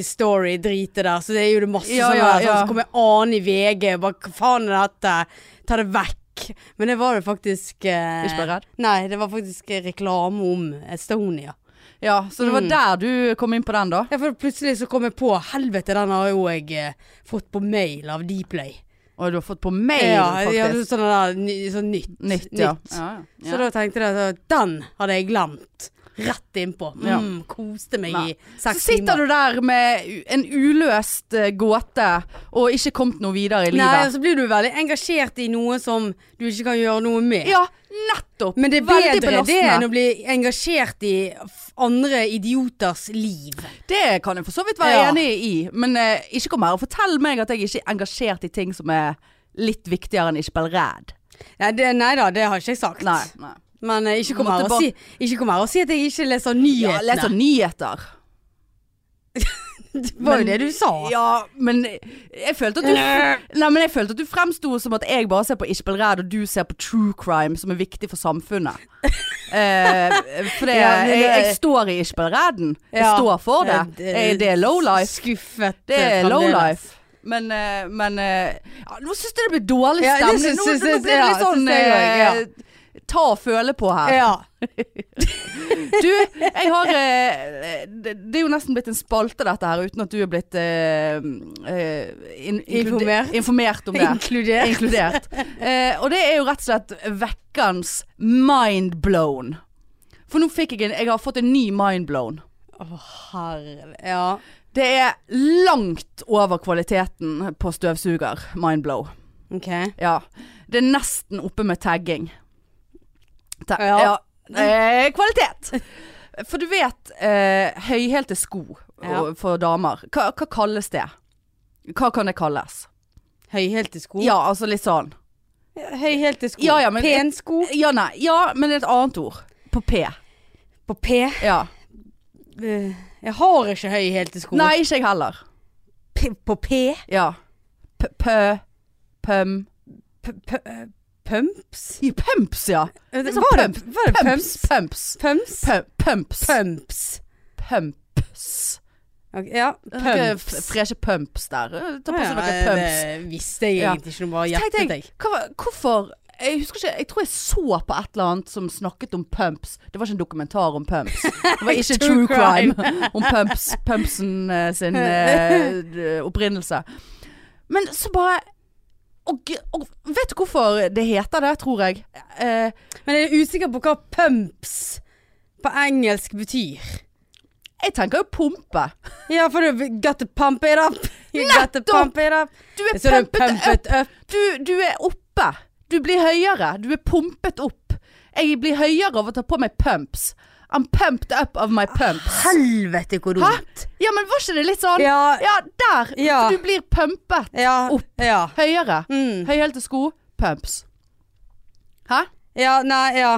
[SPEAKER 2] Story-dritet der, så det er jo det masse
[SPEAKER 1] Ja,
[SPEAKER 2] sånne
[SPEAKER 1] ja,
[SPEAKER 2] der. Sånn,
[SPEAKER 1] ja.
[SPEAKER 2] så kom jeg an i VG. Bare hva faen er dette? Ta det vekk. Men det var det faktisk eh,
[SPEAKER 1] Ikke bare redd?
[SPEAKER 2] Nei, det var faktisk eh, reklame om Estonia.
[SPEAKER 1] Ja, så
[SPEAKER 2] Mm.
[SPEAKER 1] det var der du kom inn på den, da?
[SPEAKER 2] Ja, for plutselig så kom jeg på Helvete, den har jo jeg eh, fått på mail av Dplay.
[SPEAKER 1] Og du har fått på mail,
[SPEAKER 2] Ja, ja,
[SPEAKER 1] faktisk.
[SPEAKER 2] sånn der ny- sånn nytt.
[SPEAKER 1] Nytt, ja.
[SPEAKER 2] Så da tenkte jeg at den hadde jeg glemt. rett innpå. Mm,
[SPEAKER 1] Ja.
[SPEAKER 2] Koste meg
[SPEAKER 1] Nei.
[SPEAKER 2] i
[SPEAKER 1] Så
[SPEAKER 2] seks
[SPEAKER 1] sitter
[SPEAKER 2] timer.
[SPEAKER 1] du der med u- en uløst eh, gåte og ikke kommet noe videre i
[SPEAKER 2] Nei, og
[SPEAKER 1] livet.
[SPEAKER 2] så blir du veldig engasjert i noe som du ikke kan gjøre noe med.
[SPEAKER 1] Ja, nettopp.
[SPEAKER 2] Men det er
[SPEAKER 1] Veldig
[SPEAKER 2] bedre det
[SPEAKER 1] belastende.
[SPEAKER 2] enn å bli engasjert i f- andre idioters liv.
[SPEAKER 1] Det kan jeg for så vidt være
[SPEAKER 2] Ja.
[SPEAKER 1] enig i, men eh, ikke kom her og fortell meg at jeg ikke er engasjert i ting som er litt viktigere enn ikke bli redd.
[SPEAKER 2] Nei, det, nei da, det har ikke jeg sagt.
[SPEAKER 1] Nei. nei.
[SPEAKER 2] Men eh, ikke, kom
[SPEAKER 1] Måtte
[SPEAKER 2] her og
[SPEAKER 1] bare-
[SPEAKER 2] si, ikke kom her og si at jeg ikke leser
[SPEAKER 1] Ja,
[SPEAKER 2] nyhetene.
[SPEAKER 1] leser nyheter.
[SPEAKER 2] det var
[SPEAKER 1] Men-
[SPEAKER 2] jo det du sa.
[SPEAKER 1] Ja, men jeg følte at du Nei, men jeg følte at du fremsto som at jeg bare ser på Ikke bli redd, og du ser på true crime, som er viktig for samfunnet. Eh, for det,
[SPEAKER 2] Ja, men det-
[SPEAKER 1] jeg, jeg står i Ikke bli redden. Jeg
[SPEAKER 2] Ja.
[SPEAKER 1] står for det. Eh, Det er low life.
[SPEAKER 2] Skuffet.
[SPEAKER 1] Det er
[SPEAKER 2] eh,
[SPEAKER 1] low
[SPEAKER 2] fremdeles.
[SPEAKER 1] life. Men, eh, men eh, ja, Nå syns jeg det blir dårlig
[SPEAKER 2] Ja, det
[SPEAKER 1] stemning.
[SPEAKER 2] syns-
[SPEAKER 1] nå,
[SPEAKER 2] syns-
[SPEAKER 1] nå
[SPEAKER 2] syns-
[SPEAKER 1] blir det litt
[SPEAKER 2] ja,
[SPEAKER 1] sånn
[SPEAKER 2] syns jeg
[SPEAKER 1] eh, Ta og føle på her.
[SPEAKER 2] Ja.
[SPEAKER 1] Du, jeg har eh, det, det er jo nesten blitt en spalte dette her, uten at du er blitt eh, eh, in, inklude-
[SPEAKER 2] Informert.
[SPEAKER 1] informert om det.
[SPEAKER 2] Inkludert.
[SPEAKER 1] Inkludert. Eh, og det er jo rett og slett vekkens mind blown. For nå fikk jeg en Jeg har fått en ny mind blown.
[SPEAKER 2] Å, herre Ja.
[SPEAKER 1] Det er langt over kvaliteten på støvsuger mind blow.
[SPEAKER 2] OK.
[SPEAKER 1] Ja. Det er nesten oppe med tagging. Ta
[SPEAKER 2] Ja.
[SPEAKER 1] ja. Eh, kvalitet! For du vet, eh, høyhælte sko
[SPEAKER 2] Ja.
[SPEAKER 1] og- for damer, hva, hva kalles det? Hva kan det kalles?
[SPEAKER 2] Høyhælte sko.
[SPEAKER 1] Ja, altså litt sånn.
[SPEAKER 2] Høyhælte sko.
[SPEAKER 1] Ja, ja, men-
[SPEAKER 2] Pensko.
[SPEAKER 1] Ja, nei. Ja, men det er et annet ord. På P.
[SPEAKER 2] På P.
[SPEAKER 1] Ja.
[SPEAKER 2] Eh, Jeg har ikke høyhælte sko.
[SPEAKER 1] Nei, ikke jeg heller.
[SPEAKER 2] P på P?
[SPEAKER 1] Ja. P Pø... Pøm...
[SPEAKER 2] P p eh, pumps? Eh,
[SPEAKER 1] I pumps, ja.
[SPEAKER 2] Var det,
[SPEAKER 1] sånn pump.
[SPEAKER 2] var det pumps?
[SPEAKER 1] Pumps. Pumps.
[SPEAKER 2] Pumps?
[SPEAKER 1] Pø- Pumps.
[SPEAKER 2] Pumps.
[SPEAKER 1] Pumps.
[SPEAKER 2] Ok, ja,
[SPEAKER 1] Pumps.
[SPEAKER 2] pumps.
[SPEAKER 1] Freshe pumps der. Eh, Ta på
[SPEAKER 2] Ja,
[SPEAKER 1] seg noen
[SPEAKER 2] ja,
[SPEAKER 1] pumps.
[SPEAKER 2] Det visste jeg
[SPEAKER 1] Ja.
[SPEAKER 2] egentlig ikke, noe bare
[SPEAKER 1] Så tenkte
[SPEAKER 2] gjettet jeg.
[SPEAKER 1] jeg, hva, var- hvorfor jeg husker ikke, jeg tror jeg så på et eller annet som snakket om pumps. Det var ikke en dokumentar om pumps. Det var ikke true
[SPEAKER 2] True
[SPEAKER 1] crime om pumps, pumpsen eh, sin eh, d- opprinnelse. Men så bare og, g- og vet du hvorfor det heter det, tror jeg? Eh,
[SPEAKER 2] Men jeg er usikker på hva pumps på engelsk betyr.
[SPEAKER 1] jeg tenker jo pumpe.
[SPEAKER 2] Ja, for du got to pump it up. You got to
[SPEAKER 1] Nettopp!
[SPEAKER 2] pump it up.
[SPEAKER 1] Du er
[SPEAKER 2] Så du
[SPEAKER 1] pumpet
[SPEAKER 2] pumpet up.
[SPEAKER 1] Du, du er oppe. Du blir høyere. Du er pumpet opp. Jeg blir høyere av å ta på meg pumps. I'm pumped up of my pumps.
[SPEAKER 2] Helvete hvor
[SPEAKER 1] Hæ? Ja, men var ikke det litt sånn?
[SPEAKER 2] Ja,
[SPEAKER 1] Ja, der!
[SPEAKER 2] Ja.
[SPEAKER 1] For du blir pumpet
[SPEAKER 2] ja,
[SPEAKER 1] Opp.
[SPEAKER 2] ja.
[SPEAKER 1] høyere.
[SPEAKER 2] Mm.
[SPEAKER 1] Høyhælte sko, pumps. Hæ?
[SPEAKER 2] Ja, nei, ja.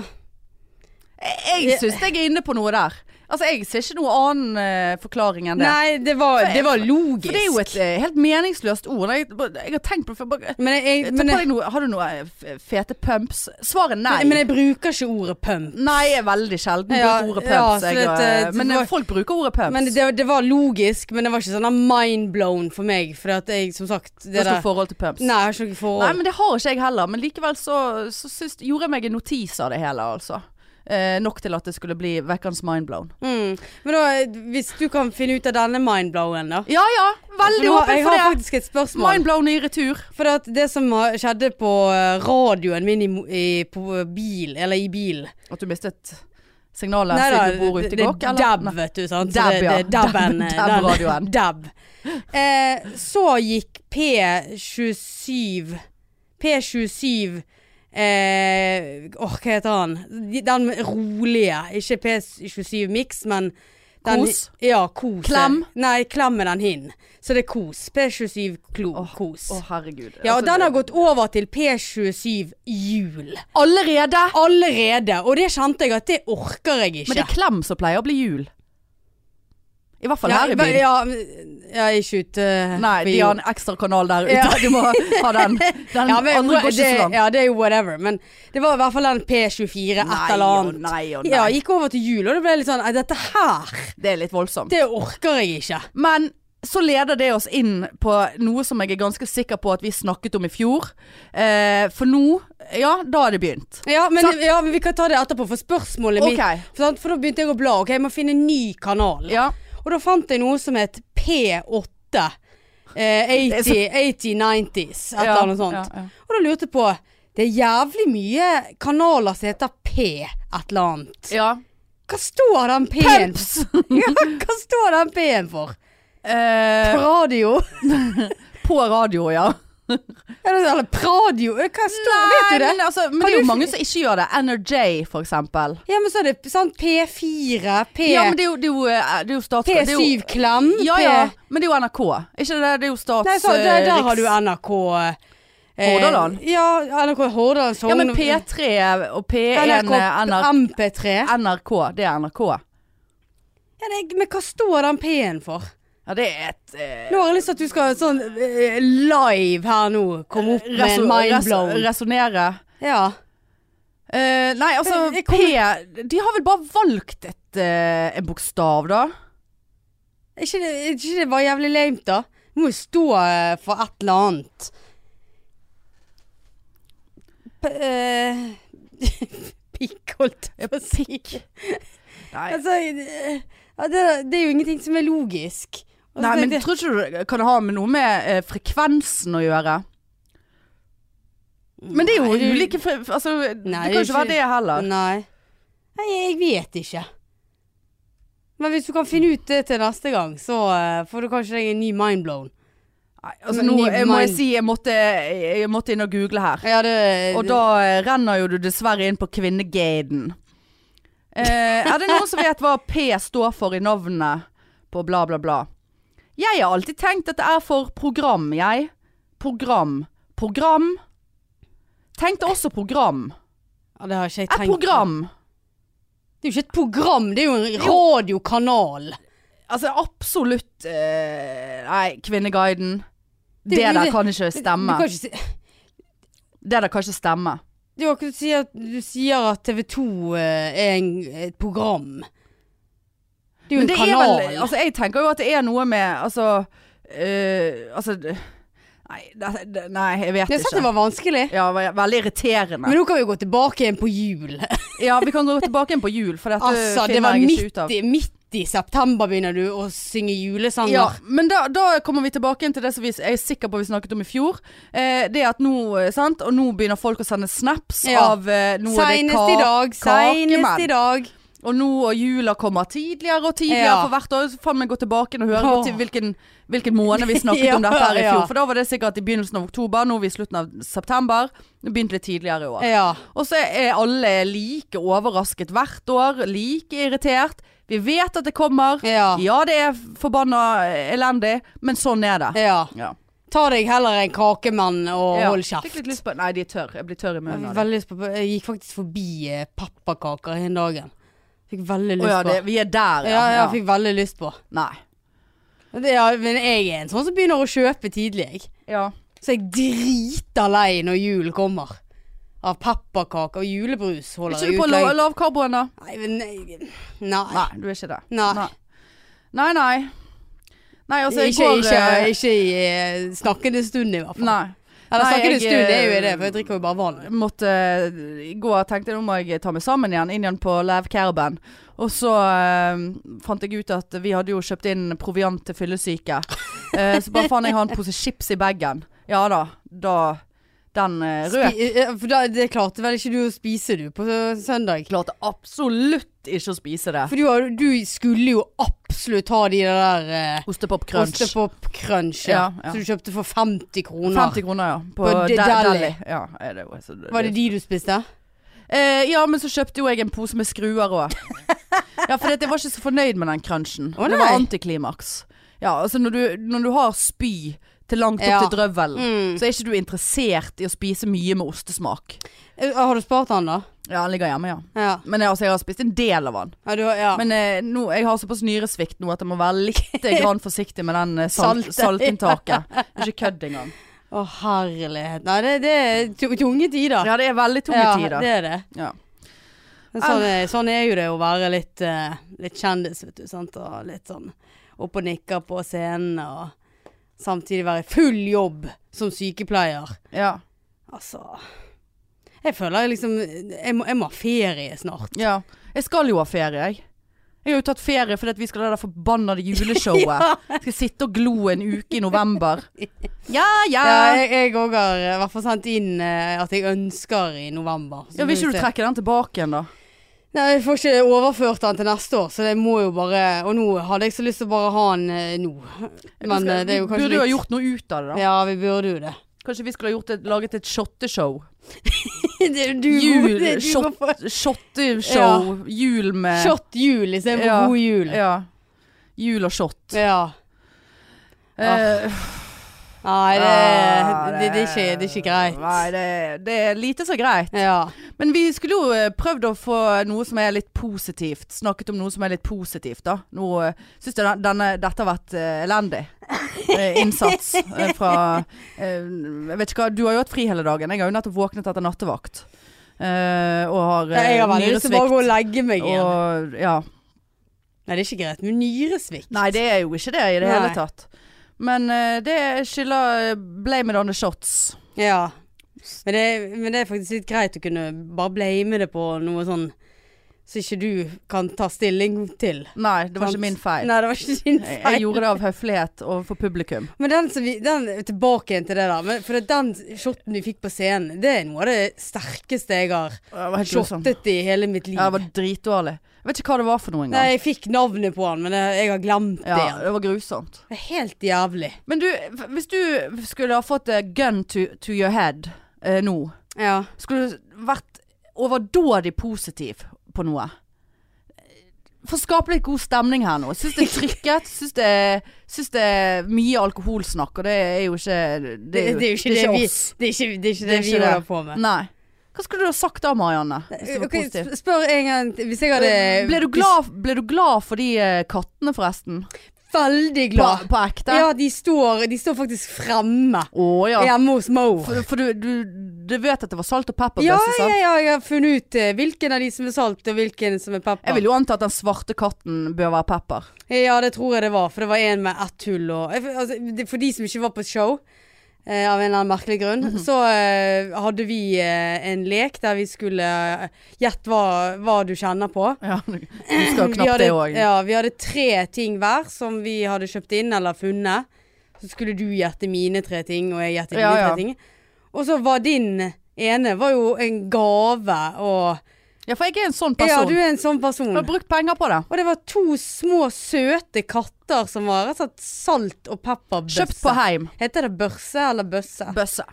[SPEAKER 1] Jeg, jeg syns jeg er inne på noe der. Altså, jeg ser ikke noe annen eh, forklaring enn det.
[SPEAKER 2] Nei, det var,
[SPEAKER 1] For-
[SPEAKER 2] det var logisk.
[SPEAKER 1] For det er jo et eh, helt meningsløst ord. Jeg, jeg har tenkt på det før. bare- eh,
[SPEAKER 2] Men jeg,
[SPEAKER 1] Ta
[SPEAKER 2] jeg, men,
[SPEAKER 1] på
[SPEAKER 2] jeg,
[SPEAKER 1] deg noe, har du noe eh, f- fete pumps? Svaret er nei.
[SPEAKER 2] men jeg bruker ikke ordet pump.
[SPEAKER 1] nei er veldig sjelden
[SPEAKER 2] Ja,
[SPEAKER 1] bruker ordet
[SPEAKER 2] ja,
[SPEAKER 1] pumps.
[SPEAKER 2] så
[SPEAKER 1] jeg,
[SPEAKER 2] det,
[SPEAKER 1] eh,
[SPEAKER 2] eh, det
[SPEAKER 1] men
[SPEAKER 2] var-
[SPEAKER 1] eh, folk bruker ordet pumps.
[SPEAKER 2] Men det, det var logisk, men det var ikke sånn mindblown for meg. For at jeg, som sagt det
[SPEAKER 1] Hva er
[SPEAKER 2] der-
[SPEAKER 1] ditt forhold til pumps?
[SPEAKER 2] Nei, jeg har ikke noe forhold.
[SPEAKER 1] Nei, men det har ikke jeg heller. Men likevel så, så syns- gjorde jeg meg en notis av det hele, altså. Eh, nok til at det skulle bli vekkens mindblown.
[SPEAKER 2] Mm. Men da, hvis du kan finne ut av denne mindblowen, da.
[SPEAKER 1] Ja ja,
[SPEAKER 2] For
[SPEAKER 1] veldig
[SPEAKER 2] nå-
[SPEAKER 1] åpen
[SPEAKER 2] jeg
[SPEAKER 1] for
[SPEAKER 2] har
[SPEAKER 1] det.
[SPEAKER 2] faktisk et spørsmål.
[SPEAKER 1] Mindblown i retur.
[SPEAKER 2] For at det som har- skjedde på eh, radioen min i, mo- i, på eh, bil, eller i bil
[SPEAKER 1] At du mistet signalet
[SPEAKER 2] Nei da,
[SPEAKER 1] siden du bor
[SPEAKER 2] det
[SPEAKER 1] ute i
[SPEAKER 2] det er
[SPEAKER 1] Gokk? eller?
[SPEAKER 2] dab,
[SPEAKER 1] Nei.
[SPEAKER 2] vet du. Sant?
[SPEAKER 1] Dab,
[SPEAKER 2] Så det,
[SPEAKER 1] ja.
[SPEAKER 2] det, er dabben,
[SPEAKER 1] Dab- dabradioen.
[SPEAKER 2] den- Dab. Eh, så gikk P27 P27 eh, Åh, hva heter han? De- Den rolige. Ikke P27 Mix, men den,
[SPEAKER 1] Kos?
[SPEAKER 2] Ja, kos.
[SPEAKER 1] Klem?
[SPEAKER 2] Nei, klem er den hin. Så det er kos. P27 klo, Kos.
[SPEAKER 1] Å, herregud.
[SPEAKER 2] Ja, og
[SPEAKER 1] Altså,
[SPEAKER 2] den har
[SPEAKER 1] det-
[SPEAKER 2] gått over til P27 Jul.
[SPEAKER 1] Allerede!
[SPEAKER 2] Allerede. Og det kjente jeg at det orker jeg ikke.
[SPEAKER 1] Men det er klem som pleier å bli jul. I hvert fall her i
[SPEAKER 2] ja,
[SPEAKER 1] byen.
[SPEAKER 2] Ja, men- ja, ikke ute
[SPEAKER 1] Nei,
[SPEAKER 2] på
[SPEAKER 1] de
[SPEAKER 2] jord.
[SPEAKER 1] har en ekstra kanal der ute.
[SPEAKER 2] Ja.
[SPEAKER 1] Du må ha den. Den
[SPEAKER 2] ja, men,
[SPEAKER 1] andre går ikke
[SPEAKER 2] det,
[SPEAKER 1] så langt.
[SPEAKER 2] Ja, det er jo whatever. Men det var i hvert fall den P24
[SPEAKER 1] Nei
[SPEAKER 2] et eller
[SPEAKER 1] og
[SPEAKER 2] annet.
[SPEAKER 1] nei og
[SPEAKER 2] Ja,
[SPEAKER 1] nei.
[SPEAKER 2] gikk over til jul, og det ble litt sånn "Nei, Dette her,
[SPEAKER 1] Det er litt voldsomt.
[SPEAKER 2] det orker jeg ikke.
[SPEAKER 1] Men så leder det oss inn på noe som jeg er ganske sikker på at vi snakket om i fjor. Eh, for nå, ja, da er det begynt.
[SPEAKER 2] Ja men,
[SPEAKER 1] Sant.
[SPEAKER 2] ja, men vi kan ta det etterpå, for spørsmålet
[SPEAKER 1] Ok,
[SPEAKER 2] mitt for, sant, for da begynte jeg å bla. Ok, Jeg må finne en ny kanal.
[SPEAKER 1] ja.
[SPEAKER 2] Og da fant jeg noe som het P8. Eh, 80, 80-90s, et eller annet sånt.
[SPEAKER 1] Ja, ja.
[SPEAKER 2] Og da lurte jeg på Det er jævlig mye kanaler som heter P et eller annet.
[SPEAKER 1] ja.
[SPEAKER 2] Hva står den P-en
[SPEAKER 1] Pumps!
[SPEAKER 2] ja, Hva står den P-en for?
[SPEAKER 1] Eh,
[SPEAKER 2] Radio?
[SPEAKER 1] på radio, ja.
[SPEAKER 2] Eller, sånn, eller pradio? Hva står Vet du det?
[SPEAKER 1] Men, altså, men
[SPEAKER 2] Kan
[SPEAKER 1] det er
[SPEAKER 2] du-
[SPEAKER 1] jo mange som ikke gjør det. NRJ, for eksempel.
[SPEAKER 2] Ja, men så er det sant, P4, P,
[SPEAKER 1] Ja, men det er jo, det er jo, eh, det er jo stats... det er jo-
[SPEAKER 2] P7-klem.
[SPEAKER 1] Ja, ja, men det er jo NRK. Ikke det, det er jo stats...
[SPEAKER 2] Nei, så, der,
[SPEAKER 1] eh,
[SPEAKER 2] der
[SPEAKER 1] riks-
[SPEAKER 2] har du NRK eh,
[SPEAKER 1] Hordaland.
[SPEAKER 2] Ja, NRK Hordaland.
[SPEAKER 1] eh, Ja, men
[SPEAKER 2] Sogn-
[SPEAKER 1] P3 og P1
[SPEAKER 2] NRK,
[SPEAKER 1] eh, NR-
[SPEAKER 2] MP3.
[SPEAKER 1] NRK, det er NRK.
[SPEAKER 2] Ja, det, men hva står den P-en for?
[SPEAKER 1] Ja, det er et eh,
[SPEAKER 2] Nå har jeg lyst til at du skal sånn eh, live her nå komme opp med en
[SPEAKER 1] reso-
[SPEAKER 2] mindblown.
[SPEAKER 1] res- Resonnere.
[SPEAKER 2] Ja.
[SPEAKER 1] Eh, nei, altså
[SPEAKER 2] Men jeg
[SPEAKER 1] P De har vel bare valgt et, eh, en bokstav, da?
[SPEAKER 2] Ikke det, ikke det var jævlig lame, da? Du må jo stå eh, for et eller annet. P eh, pikk, holdt jeg på å si.
[SPEAKER 1] Nei,
[SPEAKER 2] Altså, eh, ja, det, det er jo ingenting som er logisk. Altså, Og så
[SPEAKER 1] nei men
[SPEAKER 2] tenkte jeg,
[SPEAKER 1] tror ikke du det kan ha med noe med eh, frekvensen å gjøre? Men det er jo
[SPEAKER 2] Nei, du-
[SPEAKER 1] ulike fre altså,
[SPEAKER 2] Nei,
[SPEAKER 1] Det kan jo ikke
[SPEAKER 2] ikke-
[SPEAKER 1] være det heller.
[SPEAKER 2] Nei. Nei, jeg vet ikke. Men hvis du kan finne ut det til neste gang, så eh, får du kanskje deg en ny mindblown.
[SPEAKER 1] Nei, altså,
[SPEAKER 2] Men
[SPEAKER 1] nå
[SPEAKER 2] ny
[SPEAKER 1] jeg, må jeg
[SPEAKER 2] mind-
[SPEAKER 1] si jeg måtte, jeg måtte inn og google her.
[SPEAKER 2] Ja, det,
[SPEAKER 1] Og da eh, renner jo du dessverre inn på kvinnegaden. Eh, er det noen som vet hva P står for i navnet på bla, bla, bla? Jeg har alltid tenkt at det er for program, jeg. Program. Program. Tenkte også program.
[SPEAKER 2] ja, det har ikke jeg
[SPEAKER 1] Et
[SPEAKER 2] tenkt på.
[SPEAKER 1] program.
[SPEAKER 2] Det er jo ikke et program, det er jo en radiokanal.
[SPEAKER 1] Altså absolutt eh, Nei, Kvinneguiden.
[SPEAKER 2] Det-
[SPEAKER 1] Det der
[SPEAKER 2] det-
[SPEAKER 1] kan ikke
[SPEAKER 2] Du
[SPEAKER 1] stemme.
[SPEAKER 2] kan ikke si
[SPEAKER 1] Det der kan ikke stemme.
[SPEAKER 2] Det er jo akkurat du sier at du sier at TV 2 eh, er en, et program. Det er jo
[SPEAKER 1] Men
[SPEAKER 2] en
[SPEAKER 1] det er
[SPEAKER 2] kanal.
[SPEAKER 1] vel Altså, jeg tenker jo at det er noe med Altså, øh, altså d- Nei, det, det, nei jeg vet
[SPEAKER 2] jeg
[SPEAKER 1] ikke.
[SPEAKER 2] sa at det var vanskelig.
[SPEAKER 1] Ja, ve- veldig irriterende.
[SPEAKER 2] Men nå kan vi jo gå tilbake igjen på jul.
[SPEAKER 1] ja, vi kan gå tilbake igjen på jul, for dette
[SPEAKER 2] altså, det
[SPEAKER 1] finner
[SPEAKER 2] var
[SPEAKER 1] jeg ikke
[SPEAKER 2] midt
[SPEAKER 1] ut av.
[SPEAKER 2] i, midt i september begynner du å synge julesanger.
[SPEAKER 1] Ja, men da, da kommer vi tilbake igjen til det som vi, jeg er sikker på vi snakket om i fjor. Eh, det at nå, eh, sant, og nå begynner folk å sende snaps
[SPEAKER 2] Ja.
[SPEAKER 1] av eh, nå er det
[SPEAKER 2] Seinest
[SPEAKER 1] ka-
[SPEAKER 2] i dag,
[SPEAKER 1] kakemenn.
[SPEAKER 2] seinest i dag.
[SPEAKER 1] Og nå og jula kommer tidligere og tidligere
[SPEAKER 2] Ja.
[SPEAKER 1] for hvert år. Så faen meg gå tilbake og høre
[SPEAKER 2] Åh.
[SPEAKER 1] til hvilken, hvilken måned vi snakket
[SPEAKER 2] Ja,
[SPEAKER 1] om dette her i fjor.
[SPEAKER 2] ja.
[SPEAKER 1] For da var det sikkert i begynnelsen av oktober, nå er vi i slutten av september. Det begynte litt tidligere i år.
[SPEAKER 2] Ja.
[SPEAKER 1] Og så er alle like overrasket hvert år, like irritert. Vi vet at det kommer.
[SPEAKER 2] Ja.
[SPEAKER 1] Ja, det er forbanna elendig, men sånn er det.
[SPEAKER 2] ja.
[SPEAKER 1] Ja.
[SPEAKER 2] Ta deg heller en kakemann og
[SPEAKER 1] Ja.
[SPEAKER 2] hold
[SPEAKER 1] Fikk litt
[SPEAKER 2] kjeft.
[SPEAKER 1] lyst på Nei, de er tørre. Jeg blir tørr i
[SPEAKER 2] Jeg,
[SPEAKER 1] munnen
[SPEAKER 2] fikk
[SPEAKER 1] av det.
[SPEAKER 2] veldig lyst på, jeg gikk faktisk forbi eh, pappakaker den dagen. Fikk veldig
[SPEAKER 1] Å
[SPEAKER 2] lyst
[SPEAKER 1] ja, det,
[SPEAKER 2] på.
[SPEAKER 1] vi er der,
[SPEAKER 2] Ja, ja, jeg fikk veldig lyst på.
[SPEAKER 1] Nei.
[SPEAKER 2] Men Det, ja, men jeg er en sånn som begynner å kjøpe tidlig. Jeg.
[SPEAKER 1] Ja.
[SPEAKER 2] Så jeg driter lei når julen kommer. Av pepperkaker og julebrus
[SPEAKER 1] Er
[SPEAKER 2] holder
[SPEAKER 1] ikke
[SPEAKER 2] jeg
[SPEAKER 1] du på
[SPEAKER 2] ut
[SPEAKER 1] lav-
[SPEAKER 2] lenge.
[SPEAKER 1] lavkarboen, da?
[SPEAKER 2] Nei, men nei. nei.
[SPEAKER 1] Nei, du er ikke det.
[SPEAKER 2] Nei.
[SPEAKER 1] Nei. Nei, nei. Nei, altså, jeg
[SPEAKER 2] ikke,
[SPEAKER 1] går
[SPEAKER 2] ikke,
[SPEAKER 1] eh,
[SPEAKER 2] ikke i eh, snakkende stund, i hvert fall.
[SPEAKER 1] Nei.
[SPEAKER 2] Eller
[SPEAKER 1] Nei,
[SPEAKER 2] snakkende
[SPEAKER 1] jeg,
[SPEAKER 2] stund det er jo
[SPEAKER 1] eh,
[SPEAKER 2] det, for jeg drikker jo bare vann.
[SPEAKER 1] Måtte eh, i går tenkte jeg nå må jeg ta meg sammen igjen, inn igjen på Lav Caravan. Og så eh, fant jeg ut at vi hadde jo kjøpt inn proviant til fyllesyke. Eh, så bare faen, jeg har en pose chips i bagen. Ja da. Da Den uh, rød
[SPEAKER 2] Spi- eh, For da, det klarte vel ikke du å spise, du, på eh, søndag?
[SPEAKER 1] klarte absolutt ikke å spise det.
[SPEAKER 2] For du, har- du skulle jo absolutt ha de der eh,
[SPEAKER 1] Ostepop crunch.
[SPEAKER 2] ostepop-crunch, ja.
[SPEAKER 1] Ja, ja.
[SPEAKER 2] Som du kjøpte for 50 kroner.
[SPEAKER 1] 50 kroner, ja. På,
[SPEAKER 2] På
[SPEAKER 1] de
[SPEAKER 2] de- Deli.
[SPEAKER 1] Deli. Ja, er det, jo- så det-
[SPEAKER 2] Var det de du spiste?
[SPEAKER 1] Eh, ja, men så kjøpte jo jeg en pose med skruer òg. Ja, for jeg var ikke så fornøyd med den crunchen.
[SPEAKER 2] Å,
[SPEAKER 1] det var
[SPEAKER 2] nei.
[SPEAKER 1] antiklimaks. Ja, altså når du, når du har spy til langt opp
[SPEAKER 2] Ja.
[SPEAKER 1] til drøvelen,
[SPEAKER 2] Mm.
[SPEAKER 1] så er ikke du interessert i å spise mye med ostesmak.
[SPEAKER 2] Eh, Har du spart den, da?
[SPEAKER 1] Ja, den ligger hjemme, ja.
[SPEAKER 2] Ja.
[SPEAKER 1] Men jeg, altså, jeg har spist en del av den.
[SPEAKER 2] ja, du, har- ja.
[SPEAKER 1] Men eh, nå, jeg har såpass nyresvikt nå at jeg må være litt grann forsiktig med den eh, salt,
[SPEAKER 2] Salte.
[SPEAKER 1] saltinntaket. Ikke kødd engang.
[SPEAKER 2] Å, herlighet. Nei, det, det er tu- tunge tider.
[SPEAKER 1] Ja, det er veldig tunge tider.
[SPEAKER 2] det er det.
[SPEAKER 1] Ja.
[SPEAKER 2] Men sånn, er, sånn er jo det å være litt, eh, litt kjendis, vet du. Sant? Og litt sånn opp og nikker på scenen, og samtidig være i full jobb som sykepleier.
[SPEAKER 1] Ja.
[SPEAKER 2] Altså Jeg føler jeg liksom Jeg må, jeg må ha ferie snart.
[SPEAKER 1] Ja, jeg skal jo ha ferie, jeg. Jeg har jo tatt ferie fordi at vi skal ha det der forbannede juleshowet. Skal sitte og glo en uke i november. Ja, ja.
[SPEAKER 2] Ja,
[SPEAKER 1] ja,
[SPEAKER 2] jeg- jeg òg har i hvert fall sendt inn eh, at jeg eh, ønsker i november. Så
[SPEAKER 1] Vil
[SPEAKER 2] får
[SPEAKER 1] ikke
[SPEAKER 2] vi
[SPEAKER 1] du
[SPEAKER 2] se.
[SPEAKER 1] trekke den tilbake igjen, da?
[SPEAKER 2] Nei, jeg får ikke overført den til neste år, så det må jo bare Og nå hadde jeg så lyst til å bare ha den eh, nå. Men eh, det er jo kanskje
[SPEAKER 1] Burde jo ha gjort noe ut av det, da.
[SPEAKER 2] Ja, vi burde jo det.
[SPEAKER 1] Kanskje vi skulle ha gjort et, laget et shotteshow.
[SPEAKER 2] det er jo du
[SPEAKER 1] Jul,
[SPEAKER 2] det er du
[SPEAKER 1] shot-
[SPEAKER 2] går for-
[SPEAKER 1] Shotteshow. Jul med
[SPEAKER 2] Shot jul istedenfor
[SPEAKER 1] Ja.
[SPEAKER 2] god jul.
[SPEAKER 1] Ja. Jul og shot.
[SPEAKER 2] Ja.
[SPEAKER 1] Eh,
[SPEAKER 2] Nei, det,
[SPEAKER 1] ja,
[SPEAKER 2] det, det, er ikke, det er ikke greit.
[SPEAKER 1] Ah, Nei, det, det er lite så greit.
[SPEAKER 2] Ja.
[SPEAKER 1] Men vi skulle jo eh, prøvd å få noe som er litt positivt. Snakket om noe som er litt positivt, da. Nå eh, syns jeg den- denne, dette har vært eh, elendig eh, innsats eh, fra eh, Jeg vet ikke hva Du har jo hatt fri hele dagen. Jeg har jo nettopp våknet etter nattevakt. eh, og har eh,
[SPEAKER 2] Jeg har veldig lyst til å bare gå og legge meg igjen.
[SPEAKER 1] Og, ja.
[SPEAKER 2] Nei, det er ikke greit. Men nyresvikt.
[SPEAKER 1] Nei, det er jo ikke det i det
[SPEAKER 2] Nei.
[SPEAKER 1] hele tatt. Men eh, det skylder eh, blame it on the shots.
[SPEAKER 2] Ja. Men det, men det er faktisk litt greit å kunne bare blame det på noe sånn som ikke du kan ta stilling til.
[SPEAKER 1] Nei, det var
[SPEAKER 2] Sant.
[SPEAKER 1] ikke min feil.
[SPEAKER 2] Nei, det var ikke din
[SPEAKER 1] Jeg,
[SPEAKER 2] feil.
[SPEAKER 1] jeg gjorde det av høflighet overfor publikum.
[SPEAKER 2] Men den som vi den, Tilbake igjen til det, da. Men for det, den shoten vi fikk på scenen, det er noe av det sterkeste jeg har
[SPEAKER 1] Det var helt grusomt.
[SPEAKER 2] shottet i hele mitt liv.
[SPEAKER 1] Ja, det var dritdårlig. Jeg vet ikke hva det var for noe engang.
[SPEAKER 2] Nei, jeg fikk navnet på han, men jeg, jeg har glemt det.
[SPEAKER 1] Ja, det var grusomt.
[SPEAKER 2] Det er helt jævlig.
[SPEAKER 1] Men du, f- hvis du skulle ha fått eh, gun to, to your head eh, nå,
[SPEAKER 2] Ja.
[SPEAKER 1] skulle du vært overdådig positiv på noe? For å skape litt god stemning her nå. Syns det er trykket. Syns det, syns det er mye alkoholsnakk, og det er jo ikke Det,
[SPEAKER 2] Det, det, er jo ikke det, vi,
[SPEAKER 1] oss.
[SPEAKER 2] det, er ikke, det, er
[SPEAKER 1] Det
[SPEAKER 2] ikke det,
[SPEAKER 1] er
[SPEAKER 2] vi
[SPEAKER 1] ikke det. Mm.
[SPEAKER 2] holder på med.
[SPEAKER 1] Nei. Hva skulle du ha sagt da, Marianne? Hvis du var
[SPEAKER 2] Ok,
[SPEAKER 1] positiv?
[SPEAKER 2] sp- spør en gang til. Hvis jeg hadde
[SPEAKER 1] Ble du glad, ble du glad for de eh, kattene, forresten?
[SPEAKER 2] Veldig
[SPEAKER 1] På,
[SPEAKER 2] glad.
[SPEAKER 1] på ekte?
[SPEAKER 2] Ja, de står, de står faktisk fremme
[SPEAKER 1] Å ja.
[SPEAKER 2] hjemme hos Mo.
[SPEAKER 1] For, for du, du, du vet at det var salt og pepper?
[SPEAKER 2] Ja,
[SPEAKER 1] best,
[SPEAKER 2] ja,
[SPEAKER 1] sant?
[SPEAKER 2] ja, jeg har funnet ut eh, hvilken av de som er salt, og hvilken som er pepper.
[SPEAKER 1] Jeg vil jo anta at den svarte katten bør være pepper.
[SPEAKER 2] Ja, det tror jeg det var, for det var en med ett hull og jeg- altså, det- For de som ikke var på show, eh, av en eller annen merkelig grunn,
[SPEAKER 1] Mhm.
[SPEAKER 2] så eh, hadde vi eh, en lek der vi skulle eh, Gjett hva, hva du kjenner på.
[SPEAKER 1] Ja, du husker jo
[SPEAKER 2] Vi
[SPEAKER 1] knapt
[SPEAKER 2] hadde,
[SPEAKER 1] det òg.
[SPEAKER 2] ja, vi hadde tre ting hver som vi hadde kjøpt inn eller funnet. Så skulle du gjette mine tre ting, og jeg gjette dine
[SPEAKER 1] Ja, ja.
[SPEAKER 2] tre ting. Og så var din ene var jo en gave og
[SPEAKER 1] Ja, for jeg er en sånn
[SPEAKER 2] Ja,
[SPEAKER 1] person.
[SPEAKER 2] du er en sånn person.
[SPEAKER 1] Jeg har brukt penger på det.
[SPEAKER 2] Og det var to små, søte katter som var rett og slett salt og pepperbøsse.
[SPEAKER 1] Kjøpt på heim.
[SPEAKER 2] Heter det børse eller bøsse?
[SPEAKER 1] Bøsse.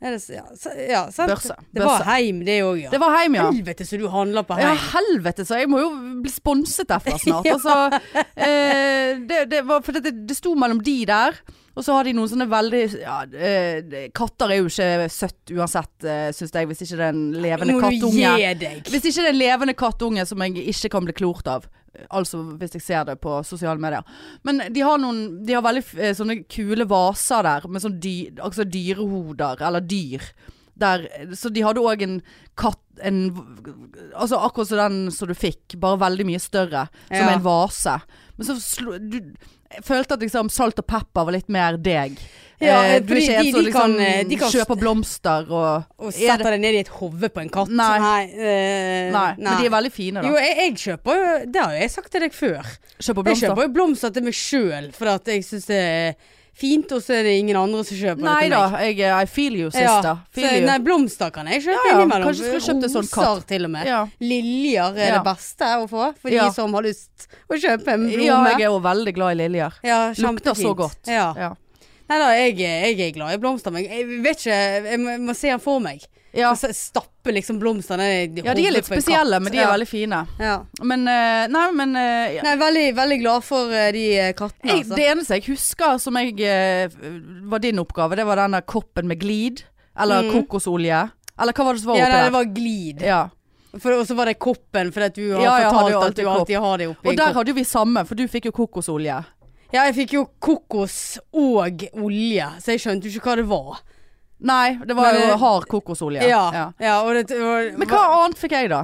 [SPEAKER 2] Er det, s- ja, s- ja, sant?
[SPEAKER 1] Børse.
[SPEAKER 2] Det var
[SPEAKER 1] Bøsse.
[SPEAKER 2] heim, det òg, ja.
[SPEAKER 1] Det var heim, ja.
[SPEAKER 2] Helvete så du handler på
[SPEAKER 1] Ja,
[SPEAKER 2] heim.
[SPEAKER 1] helvete, så jeg må jo bli sponset derfra snart. altså, eh, det, det, var, for det, det sto mellom de der, og så har de noen sånne veldig ja, eh, Katter er jo ikke søtt uansett, eh, syns jeg, hvis ikke det er en levende
[SPEAKER 2] Må du
[SPEAKER 1] kattunge.
[SPEAKER 2] gi deg.
[SPEAKER 1] Hvis ikke det er en levende kattunge som jeg ikke kan bli klort av. Altså hvis jeg ser det på sosiale medier. Men de har noen De har veldig eh, sånne kule vaser der med sånn dy, altså dyrehoder, eller dyr. Der, så de hadde òg en katt en, Altså akkurat som den som du fikk, bare veldig mye større. Som
[SPEAKER 2] Ja.
[SPEAKER 1] en vase. Men så slo du, Jeg følte at liksom salt og pepper var litt mer deg.
[SPEAKER 2] Ja,
[SPEAKER 1] Eh, du er
[SPEAKER 2] fordi
[SPEAKER 1] ikke en
[SPEAKER 2] de-
[SPEAKER 1] som
[SPEAKER 2] de kan,
[SPEAKER 1] liksom
[SPEAKER 2] eh, de kan-
[SPEAKER 1] kjøper blomster og,
[SPEAKER 2] Og
[SPEAKER 1] er det-
[SPEAKER 2] setter deg ned i et hode på en katt.
[SPEAKER 1] Nei.
[SPEAKER 2] eh,
[SPEAKER 1] nei, men de er veldig fine,
[SPEAKER 2] Jo,
[SPEAKER 1] da.
[SPEAKER 2] jeg, jeg kjøper jo Det har jo jeg sagt til deg før.
[SPEAKER 1] Kjøper
[SPEAKER 2] Jeg
[SPEAKER 1] blomster.
[SPEAKER 2] kjøper jo blomster til meg sjøl, for at jeg syns det er fint, og så er det ingen andre som kjøper det
[SPEAKER 1] Nei
[SPEAKER 2] til meg.
[SPEAKER 1] da, jeg, I feel you, sista.
[SPEAKER 2] Så,
[SPEAKER 1] Feel you.
[SPEAKER 2] nei, blomster kan jeg kjøpe
[SPEAKER 1] Ja, ja,
[SPEAKER 2] innimellom.
[SPEAKER 1] kanskje du skulle kjøpt en sånn
[SPEAKER 2] Roser
[SPEAKER 1] katt.
[SPEAKER 2] til og med.
[SPEAKER 1] ja.
[SPEAKER 2] Liljer er
[SPEAKER 1] Ja.
[SPEAKER 2] det beste å få for
[SPEAKER 1] Ja.
[SPEAKER 2] de som har lyst å kjøpe en
[SPEAKER 1] ja,
[SPEAKER 2] blomme.
[SPEAKER 1] jeg er jo veldig glad i liljer.
[SPEAKER 2] Ja,
[SPEAKER 1] Lukter så
[SPEAKER 2] kjempefint.
[SPEAKER 1] godt.
[SPEAKER 2] Ja.
[SPEAKER 1] Ja.
[SPEAKER 2] Nei da, jeg, jeg er glad i blomster, men jeg vet ikke Jeg må, jeg må se den for meg.
[SPEAKER 1] Ja.
[SPEAKER 2] Altså, stappe liksom blomstene i
[SPEAKER 1] ja, de er
[SPEAKER 2] hodet
[SPEAKER 1] litt
[SPEAKER 2] på en katt.
[SPEAKER 1] spesielle, men de er
[SPEAKER 2] ja.
[SPEAKER 1] veldig fine.
[SPEAKER 2] ja.
[SPEAKER 1] Men eh, Nei, men eh, ja.
[SPEAKER 2] Nei, veldig, veldig glad for eh, de eh, kattene,
[SPEAKER 1] jeg,
[SPEAKER 2] altså.
[SPEAKER 1] Det eneste jeg husker som jeg eh, var din oppgave, det var denne koppen med glid. Eller
[SPEAKER 2] Mm.
[SPEAKER 1] kokosolje. Eller hva var det som var
[SPEAKER 2] ja,
[SPEAKER 1] oppi
[SPEAKER 2] nei, det
[SPEAKER 1] der?
[SPEAKER 2] var glid.
[SPEAKER 1] Ja.
[SPEAKER 2] For- Og så var det koppen, fordi at du har
[SPEAKER 1] Ja, jeg hadde
[SPEAKER 2] fortalt
[SPEAKER 1] jo
[SPEAKER 2] at du
[SPEAKER 1] alltid kopp.
[SPEAKER 2] alltid har det oppi
[SPEAKER 1] Og der
[SPEAKER 2] koppen.
[SPEAKER 1] hadde jo vi samme, for du fikk jo kokosolje.
[SPEAKER 2] Ja, jeg fikk jo kokos og olje, så jeg skjønte jo ikke hva det var.
[SPEAKER 1] Nei, det var
[SPEAKER 2] Men,
[SPEAKER 1] jo
[SPEAKER 2] eh,
[SPEAKER 1] hard kokosolje.
[SPEAKER 2] Ja, ja. og det, og,
[SPEAKER 1] Men hva annet fikk jeg, da?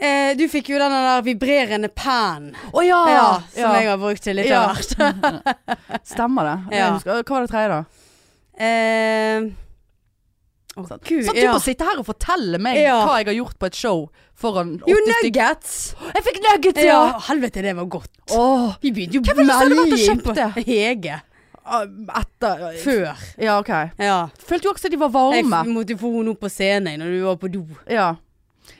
[SPEAKER 2] Eh, du fikk jo den der vibrerende pennen.
[SPEAKER 1] Å Ah, ja!
[SPEAKER 2] Ja, som jeg har brukt til litt
[SPEAKER 1] Ja.
[SPEAKER 2] av hvert.
[SPEAKER 1] Stemmer det.
[SPEAKER 2] Ja.
[SPEAKER 1] Jeg husker- Hva var det tredje, da?
[SPEAKER 2] Eh, å,
[SPEAKER 1] Sant.
[SPEAKER 2] gud,
[SPEAKER 1] Sånn at du
[SPEAKER 2] ja.
[SPEAKER 1] får sitte her og fortelle meg
[SPEAKER 2] Ja.
[SPEAKER 1] hva jeg har gjort på et show foran 80
[SPEAKER 2] Jo,
[SPEAKER 1] stykker.
[SPEAKER 2] nuggets!
[SPEAKER 1] Jeg fikk nuggets,
[SPEAKER 2] Ja.
[SPEAKER 1] ja!
[SPEAKER 2] Helvete, det var godt.
[SPEAKER 1] Åh,
[SPEAKER 2] Vi begynte jo
[SPEAKER 1] Hvem var det som hadde vært og
[SPEAKER 2] melding
[SPEAKER 1] kjøpt
[SPEAKER 2] på Hege
[SPEAKER 1] eh, etter
[SPEAKER 2] før.
[SPEAKER 1] Ja, ok.
[SPEAKER 2] Ja.
[SPEAKER 1] Følte jo også at de var
[SPEAKER 2] Jeg
[SPEAKER 1] varme.
[SPEAKER 2] f- måtte jo få henne opp på scenen når du var på do.
[SPEAKER 1] Ja.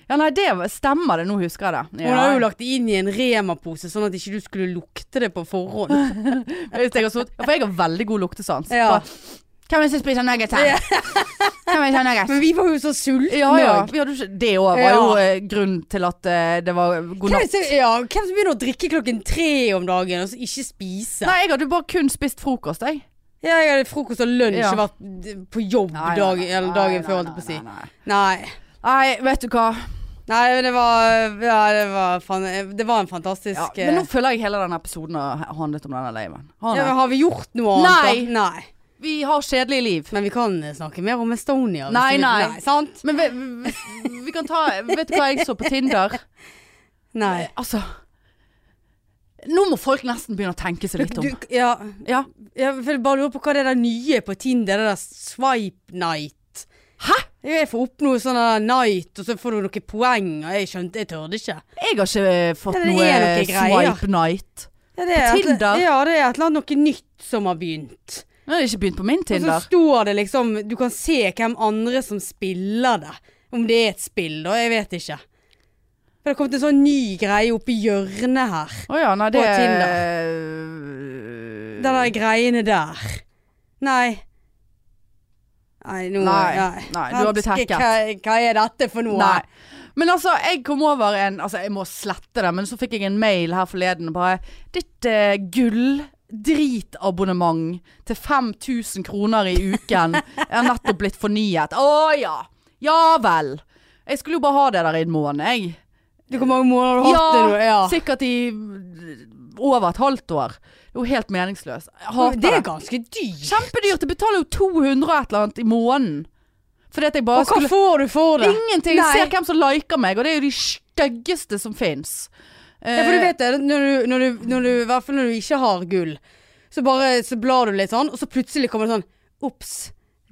[SPEAKER 1] Ja, nei, det var- stemmer det. Nå husker jeg det.
[SPEAKER 2] Hun
[SPEAKER 1] Ja.
[SPEAKER 2] har jo lagt det inn i en Rema-pose, sånn at ikke du skulle lukte det på forhånd.
[SPEAKER 1] Hvis jeg har sott- ja, for jeg har veldig god luktesans.
[SPEAKER 2] Ja.
[SPEAKER 1] Bare, Hvem vil spise nuggets her? Hvem vil ha nuggets?
[SPEAKER 2] Men vi var jo så sultne.
[SPEAKER 1] Ja ja.
[SPEAKER 2] òg.
[SPEAKER 1] Vi hadde jo ikke, det òg var jo eh, grunnen til at eh, det var god
[SPEAKER 2] Hvem
[SPEAKER 1] natt.
[SPEAKER 2] som, ja, hvem som begynner å drikke klokken tre om dagen og så ikke spise?
[SPEAKER 1] Nei, jeg hadde jo bare kun spist frokost, jeg.
[SPEAKER 2] Ja, jeg hadde frokost og lunsj
[SPEAKER 1] Ja.
[SPEAKER 2] og vært d- på jobb dag, eller dagen før, holdt jeg på å si.
[SPEAKER 1] Nei, nei,
[SPEAKER 2] Nei.
[SPEAKER 1] Nei, vet du hva.
[SPEAKER 2] Nei, men det var Ja, det var, fan, det var en fantastisk
[SPEAKER 1] Ja,
[SPEAKER 2] eh,
[SPEAKER 1] men nå føler jeg hele den episoden har handlet om denne laven. Har den
[SPEAKER 2] ja, men
[SPEAKER 1] det?
[SPEAKER 2] Har vi gjort noe annet? da? Nei.
[SPEAKER 1] Vi har kjedelige liv.
[SPEAKER 2] Men vi kan eh, snakke mer om Estonia. hvis
[SPEAKER 1] Nei,
[SPEAKER 2] du vil.
[SPEAKER 1] nei.
[SPEAKER 2] nei. Sant?
[SPEAKER 1] Men vi, vi- vi kan ta Vet du hva jeg så på Tinder?
[SPEAKER 2] Nei.
[SPEAKER 1] Altså Nå må folk nesten begynne å tenke seg litt om.
[SPEAKER 2] Du, ja,
[SPEAKER 1] Ja.
[SPEAKER 2] jeg vil bare lurer på hva det der nye på Tinder, det der swipe night.
[SPEAKER 1] Hæ?
[SPEAKER 2] Jeg får opp noe sånn der night, og så får du noen poeng, og jeg skjønte, jeg tørde ikke.
[SPEAKER 1] Jeg har ikke eh, fått
[SPEAKER 2] Ja, det er
[SPEAKER 1] noe
[SPEAKER 2] noe greier.
[SPEAKER 1] swipe night.
[SPEAKER 2] Ja, det er
[SPEAKER 1] På
[SPEAKER 2] et-
[SPEAKER 1] Tinder?
[SPEAKER 2] Ja, det er et eller annet noe nytt som har begynt.
[SPEAKER 1] Nå har det ikke begynt på min
[SPEAKER 2] Og så
[SPEAKER 1] Tinder.
[SPEAKER 2] står det liksom, du kan se hvem andre som spiller det. Om det er et spill da, jeg vet ikke. For det har kommet en sånn ny greie opp i hjørnet her.
[SPEAKER 1] Å ja, nei, det
[SPEAKER 2] På
[SPEAKER 1] Tinder.
[SPEAKER 2] Den der greiene der. Nei. Nei, nå
[SPEAKER 1] Nei, nei, du har blitt
[SPEAKER 2] Hanske,
[SPEAKER 1] hacket.
[SPEAKER 2] Hva, hva er dette for noe?
[SPEAKER 1] Nei. Men altså, jeg kom over en Altså, jeg må slette det, men så fikk jeg en mail her forleden og bare Ditt eh, gull dritabonnement til 5000 kroner i uken er nettopp blitt fornyet. Å ja. Ja vel. Jeg skulle jo bare ha det der i en måned, jeg.
[SPEAKER 2] Du, hvor mange måneder har du hatt det nå?
[SPEAKER 1] Ja,
[SPEAKER 2] Ja.
[SPEAKER 1] sikkert i eh, over et halvt år. Det er jo helt meningsløst. Jeg hater
[SPEAKER 2] Det
[SPEAKER 1] det.
[SPEAKER 2] er ganske dyrt.
[SPEAKER 1] Kjempedyrt. Jeg betaler jo 200 og et eller annet i måneden. Fordi at jeg bare
[SPEAKER 2] Og hva
[SPEAKER 1] skulle
[SPEAKER 2] får du for det?
[SPEAKER 1] Ingenting.
[SPEAKER 2] Nei.
[SPEAKER 1] Jeg ser hvem som liker meg, og det er jo de styggeste som fins.
[SPEAKER 2] Ja, for du
[SPEAKER 1] Eh.
[SPEAKER 2] vet det, når du, når du, når du, i hvert fall når du ikke har gull, så bare så blar du litt sånn, og så plutselig kommer det sånn Ops.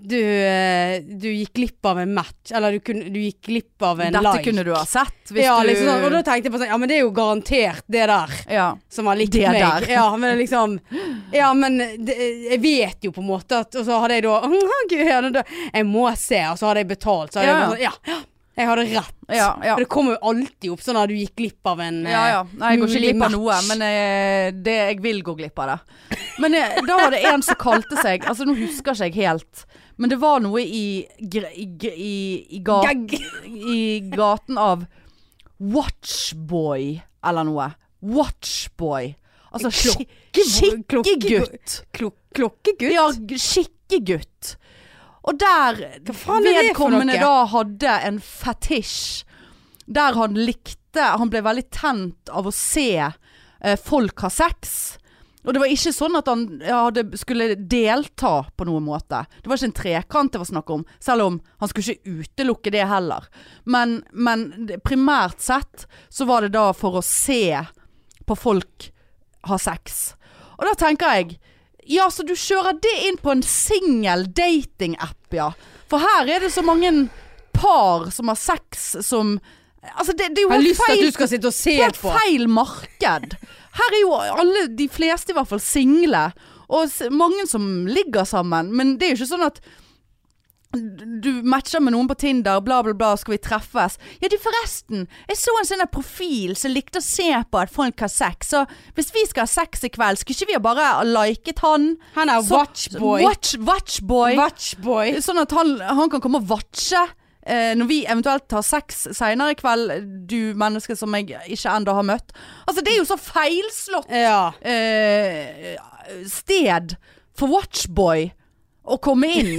[SPEAKER 2] Du, eh, du gikk glipp av en match, eller du, kunne, du gikk glipp av en
[SPEAKER 1] Dette
[SPEAKER 2] like.
[SPEAKER 1] kunne du ha sett hvis
[SPEAKER 2] ja,
[SPEAKER 1] du
[SPEAKER 2] liksom sånn. Og da tenkte jeg på sånn Ja, men det er jo garantert det der.
[SPEAKER 1] ja.
[SPEAKER 2] som har likt
[SPEAKER 1] Det
[SPEAKER 2] meg.
[SPEAKER 1] der.
[SPEAKER 2] Ja, men liksom Ja, men det, jeg vet jo på en måte at Og så hadde jeg da «Åh, Gud, ja, da- Jeg må se, og så hadde jeg betalt. Så hadde
[SPEAKER 1] Ja,
[SPEAKER 2] jeg bare sånn Ja, jeg hadde rett.
[SPEAKER 1] Ja, ja.
[SPEAKER 2] For det kommer jo alltid opp sånn at du gikk glipp av en
[SPEAKER 1] Ja, ja. Nei, jeg går ikke
[SPEAKER 2] mulig
[SPEAKER 1] glipp av noe,
[SPEAKER 2] match.
[SPEAKER 1] men eh, det, jeg vil gå glipp av det. Men eh, da var det en som kalte seg Altså, nå husker ikke jeg helt, men det var noe i, gr- i, gr- i, i,
[SPEAKER 2] eh,
[SPEAKER 1] ga,
[SPEAKER 2] gag.
[SPEAKER 1] i gaten av Watchboy eller noe. Watchboy. Altså skik-
[SPEAKER 2] Klokke-
[SPEAKER 1] skikkegutt.
[SPEAKER 2] Klok klokkegutt?
[SPEAKER 1] Ja, g- skikkegutt. Og der
[SPEAKER 2] faen er det for
[SPEAKER 1] vedkommende
[SPEAKER 2] noe?
[SPEAKER 1] da hadde en fetisj der han likte Han ble veldig tent av å se eh, folk ha sex. Og det var ikke sånn at han ja, hadde, skulle delta på noen måte. Det var ikke en trekant det var snakk om, selv om han skulle ikke utelukke det heller. Men, men det- primært sett så var det da for å se på folk ha sex. Og da tenker jeg Ja, så du kjører det inn på en singel datingapp, ja. For her er det så mange par som har sex som Altså, det, det er jo
[SPEAKER 2] Jeg har
[SPEAKER 1] helt
[SPEAKER 2] lyst til at
[SPEAKER 1] feil
[SPEAKER 2] du skal sitte og se
[SPEAKER 1] helt
[SPEAKER 2] på.
[SPEAKER 1] feil marked. Her er jo alle, de fleste i hvert fall, single. Og s- mange som ligger sammen. Men det er jo ikke sånn at du matcher med noen på Tinder, bla bla bla, skal vi treffes? Ja du forresten, jeg så en sånn der profil som likte å se på at folk har sex, så hvis vi skal ha sex i kveld, skulle ikke vi ha bare liket han?
[SPEAKER 2] Han er
[SPEAKER 1] Så-
[SPEAKER 2] watchboy.
[SPEAKER 1] Watch, watchboy.
[SPEAKER 2] Watchboy.
[SPEAKER 1] Sånn at han, han kan komme og vatsje eh, når vi eventuelt har sex seinere i kveld, du menneske som jeg ikke ennå har møtt. Altså, det er jo så feilslått
[SPEAKER 2] Ja.
[SPEAKER 1] eh, sted for Watchboy å komme inn.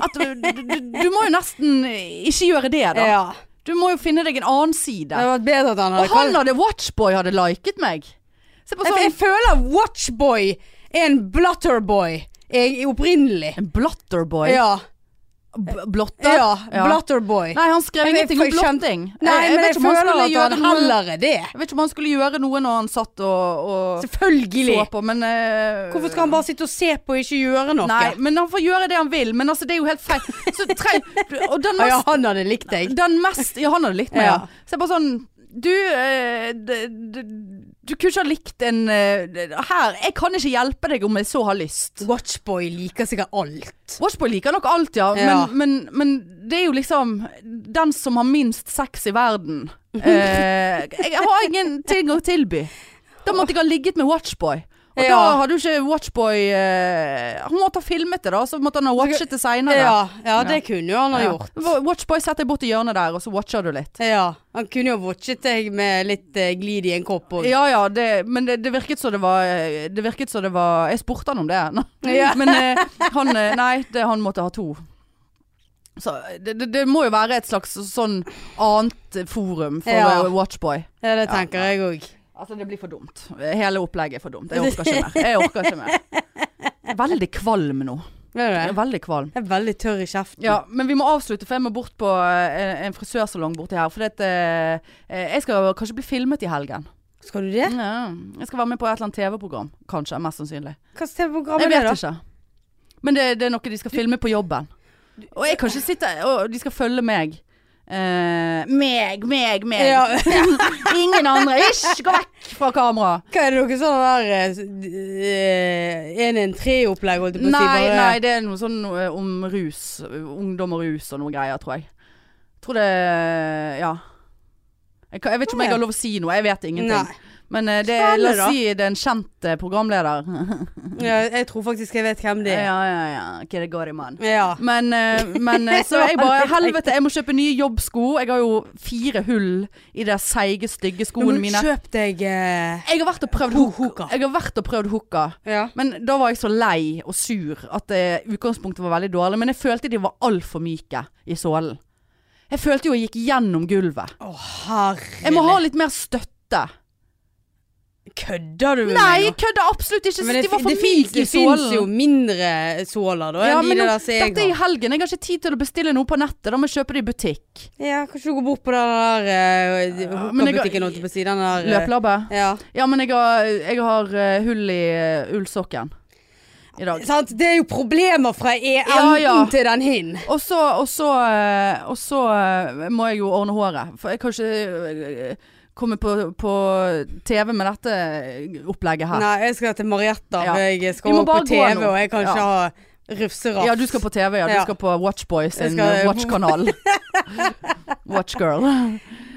[SPEAKER 1] At du, du, du, du må jo nesten ikke gjøre det, da.
[SPEAKER 2] ja.
[SPEAKER 1] Du må jo finne deg en annen
[SPEAKER 2] Det
[SPEAKER 1] side.
[SPEAKER 2] hadde vært bedre at han hadde
[SPEAKER 1] Og han hadde Watchboy hadde liket meg. Se på
[SPEAKER 2] Jeg,
[SPEAKER 1] sånn
[SPEAKER 2] jeg føler Watchboy er en blutterboy. Jeg, opprinnelig.
[SPEAKER 1] En blotterboy.
[SPEAKER 2] Ja.
[SPEAKER 1] B- Blotter.
[SPEAKER 2] Ja,
[SPEAKER 1] Ja.
[SPEAKER 2] Blutterboy.
[SPEAKER 1] Nei, han skrev
[SPEAKER 2] Men jeg-
[SPEAKER 1] ingenting om
[SPEAKER 2] jeg skjønte-
[SPEAKER 1] blotting.
[SPEAKER 2] Nei, men jeg,
[SPEAKER 1] vet ikke om han
[SPEAKER 2] føler
[SPEAKER 1] skulle
[SPEAKER 2] at
[SPEAKER 1] gjøre
[SPEAKER 2] han
[SPEAKER 1] noe-
[SPEAKER 2] heller er det.
[SPEAKER 1] Jeg vet ikke om han skulle gjøre noe når han satt og, og
[SPEAKER 2] Selvfølgelig.
[SPEAKER 1] så på, men eh,
[SPEAKER 2] Hvorfor skal han bare sitte og se på og ikke gjøre noe?
[SPEAKER 1] Nei, men han får gjøre det han vil, men altså, det er jo helt feil. Så treng... Og den
[SPEAKER 2] Ah, ja,
[SPEAKER 1] mest,
[SPEAKER 2] han hadde likt deg.
[SPEAKER 1] den mest Ja, han hadde likt meg, ja.
[SPEAKER 2] Ja.
[SPEAKER 1] Så jeg bare sånn Du, eh, d- d- Du kunne ikke ha likt en eh, Her, jeg kan ikke hjelpe deg om jeg så har lyst.
[SPEAKER 2] Watchboy liker sikkert alt.
[SPEAKER 1] Watchboy liker nok alt, ja.
[SPEAKER 2] Ja.
[SPEAKER 1] Men, men, men det er jo liksom Den som har minst sex i verden. Eh, jeg har ingen ting å tilby. Da måtte jeg ha ligget med Watchboy. Og da
[SPEAKER 2] Ja.
[SPEAKER 1] hadde jo ikke Watchboy eh, Han måtte ha filmet det, da. Så måtte han ha watchet det seinere.
[SPEAKER 2] Ja, ja, det kunne jo han ha gjort.
[SPEAKER 1] Watchboy setter deg bort i hjørnet der, og så watcher du litt.
[SPEAKER 2] Ja, Han kunne jo watchet deg med litt eh, glid i en kopp. Og...
[SPEAKER 1] Ja ja, det, men det, det virket som det var Det virket som det var Jeg spurte han om det. nå.
[SPEAKER 2] Ja.
[SPEAKER 1] Men eh, han eh, Nei, det, han måtte ha to. Så det, det, det må jo være et slags sånn annet forum for
[SPEAKER 2] Ja.
[SPEAKER 1] eh, Watchboy.
[SPEAKER 2] Ja, det tenker jeg òg.
[SPEAKER 1] Altså, det blir for dumt. Hele opplegget er for dumt. Jeg orker ikke mer. Jeg orker ikke mer. Jeg er Veldig kvalm nå.
[SPEAKER 2] Vet du
[SPEAKER 1] Jeg er
[SPEAKER 2] det?
[SPEAKER 1] Veldig kvalm.
[SPEAKER 2] Jeg er veldig tørr i kjeften.
[SPEAKER 1] Ja, men vi må avslutte, for jeg må bort på eh, en, en frisørsalong borti her. For det, eh, jeg skal kanskje bli filmet i helgen.
[SPEAKER 2] Skal du det?
[SPEAKER 1] Ja. Jeg skal være med på et eller annet TV-program, kanskje. Mest sannsynlig.
[SPEAKER 2] Hva slags TV-program
[SPEAKER 1] Jeg
[SPEAKER 2] er det,
[SPEAKER 1] vet
[SPEAKER 2] da?
[SPEAKER 1] ikke. Men det, det er noe de skal filme på jobben. Og jeg kan ikke sitte Og de skal følge meg. Eh, meg, meg, meg.
[SPEAKER 2] Ja.
[SPEAKER 1] Ingen andre. Hysj, gå vekk fra kamera.
[SPEAKER 2] Hva er det dere sånn der eh, s- eh, En en tre-opplegg, holdt jeg på å si?
[SPEAKER 1] Nei,
[SPEAKER 2] bare-
[SPEAKER 1] nei, det er noe sånn eh, om rus. Ungdom og rus og noe greier, tror jeg. Tror det Ja. Jeg, kan, jeg vet ikke om jeg har lov å si noe. Jeg vet ingenting.
[SPEAKER 2] Nei.
[SPEAKER 1] Men eh, det, la
[SPEAKER 2] Spennende, da.
[SPEAKER 1] oss si det er en kjent eh, programleder.
[SPEAKER 2] Ja, jeg tror faktisk jeg vet hvem det er.
[SPEAKER 1] Ja, ja, ja. Hva det går i, mann.
[SPEAKER 2] Ja.
[SPEAKER 1] Men, eh, men eh, så jeg bare Helvete, jeg må kjøpe nye jobbsko. Jeg har jo fire hull i de seige, stygge
[SPEAKER 2] Nå må
[SPEAKER 1] skoene
[SPEAKER 2] du
[SPEAKER 1] mine.
[SPEAKER 2] kjøpe deg eh,
[SPEAKER 1] Jeg har vært og prøvd
[SPEAKER 2] Ho-
[SPEAKER 1] hook-
[SPEAKER 2] hooka.
[SPEAKER 1] Jeg har vært og prøvd hooka.
[SPEAKER 2] Ja.
[SPEAKER 1] Men da var jeg så lei og sur at eh, utgangspunktet var veldig dårlig. Men jeg følte de var altfor myke i sålen. Jeg følte jo jeg gikk gjennom gulvet.
[SPEAKER 2] Å, herre
[SPEAKER 1] Jeg må ha litt mer støtte.
[SPEAKER 2] Kødder du med
[SPEAKER 1] Nei,
[SPEAKER 2] meg
[SPEAKER 1] jeg kødder absolutt ikke.
[SPEAKER 2] Men
[SPEAKER 1] Jeg synes de var for
[SPEAKER 2] fins-
[SPEAKER 1] myke i
[SPEAKER 2] det fins jo
[SPEAKER 1] sålen.
[SPEAKER 2] mindre såler da,
[SPEAKER 1] Ja,
[SPEAKER 2] enn
[SPEAKER 1] men
[SPEAKER 2] de
[SPEAKER 1] nå,
[SPEAKER 2] der som jeg
[SPEAKER 1] dette er i
[SPEAKER 2] har.
[SPEAKER 1] helgen. Jeg har ikke tid til å bestille noe på nettet. Da må jeg kjøpe det i butikk.
[SPEAKER 2] Ja, kanskje du går bort på den der uh,
[SPEAKER 1] men jeg har-
[SPEAKER 2] hookerbutikken, holdt jeg på å si. Den der eh,
[SPEAKER 1] Løplabbe.
[SPEAKER 2] Ja.
[SPEAKER 1] Ja, men jeg har, jeg har eh, hull i eh, ullsokken i dag.
[SPEAKER 2] Sant? Det er jo problemer fra e enden
[SPEAKER 1] Ja, ja.
[SPEAKER 2] til den hin.
[SPEAKER 1] Og så, og, så, eh, og så eh, må jeg jo ordne håret. For jeg kan ikke eh, komme på, på TV med dette opplegget her.
[SPEAKER 2] Nei, jeg skal til Marietta.
[SPEAKER 1] Ja.
[SPEAKER 2] for Jeg
[SPEAKER 1] Vi
[SPEAKER 2] skal
[SPEAKER 1] må
[SPEAKER 2] opp på
[SPEAKER 1] bare gå
[SPEAKER 2] TV,
[SPEAKER 1] nå.
[SPEAKER 2] og jeg kan ikke
[SPEAKER 1] Ja.
[SPEAKER 2] ha rufseraff.
[SPEAKER 1] Ja, du skal på TV, ja. Du
[SPEAKER 2] Ja.
[SPEAKER 1] skal på Watchboy sin
[SPEAKER 2] skal-
[SPEAKER 1] Watch-kanal. Watchgirl.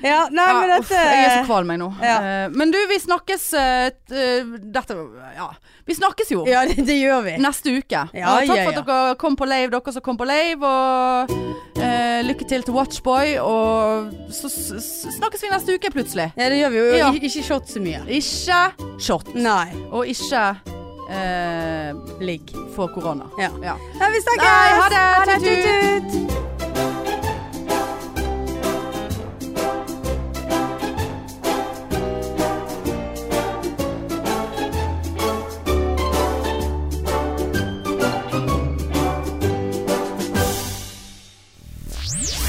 [SPEAKER 2] Ja, nei, men
[SPEAKER 1] Ja, uff,
[SPEAKER 2] dette
[SPEAKER 1] jeg er så kvalm jeg nå.
[SPEAKER 2] Ja.
[SPEAKER 1] Eh, Men du, vi snakkes eh, t- eh, Dette Ja. Vi snakkes jo.
[SPEAKER 2] Ja, det, det gjør vi.
[SPEAKER 1] neste uke.
[SPEAKER 2] Ja,
[SPEAKER 1] og takk
[SPEAKER 2] ja,
[SPEAKER 1] for at dere kom på lave, dere som kom på lave. Og eh, lykke til til Watchboy. Og så s- s- snakkes vi neste uke, plutselig.
[SPEAKER 2] Ja, det gjør vi jo.
[SPEAKER 1] Ja.
[SPEAKER 2] Ik- Ikke shot så mye.
[SPEAKER 1] Ikke shot.
[SPEAKER 2] Nei.
[SPEAKER 1] Og ikke eh,
[SPEAKER 2] Ligg.
[SPEAKER 1] få korona.
[SPEAKER 2] Ja.
[SPEAKER 1] Ja.
[SPEAKER 2] Ja, vi snakkes!
[SPEAKER 1] Nei, ha det! Tut,
[SPEAKER 2] tut-tut!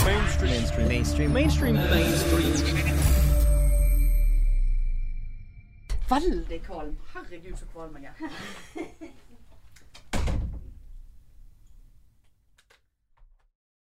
[SPEAKER 3] mainstream mainstream mainstream mainstream
[SPEAKER 1] Veldig kvalm. Herregud, så kvalm jeg er.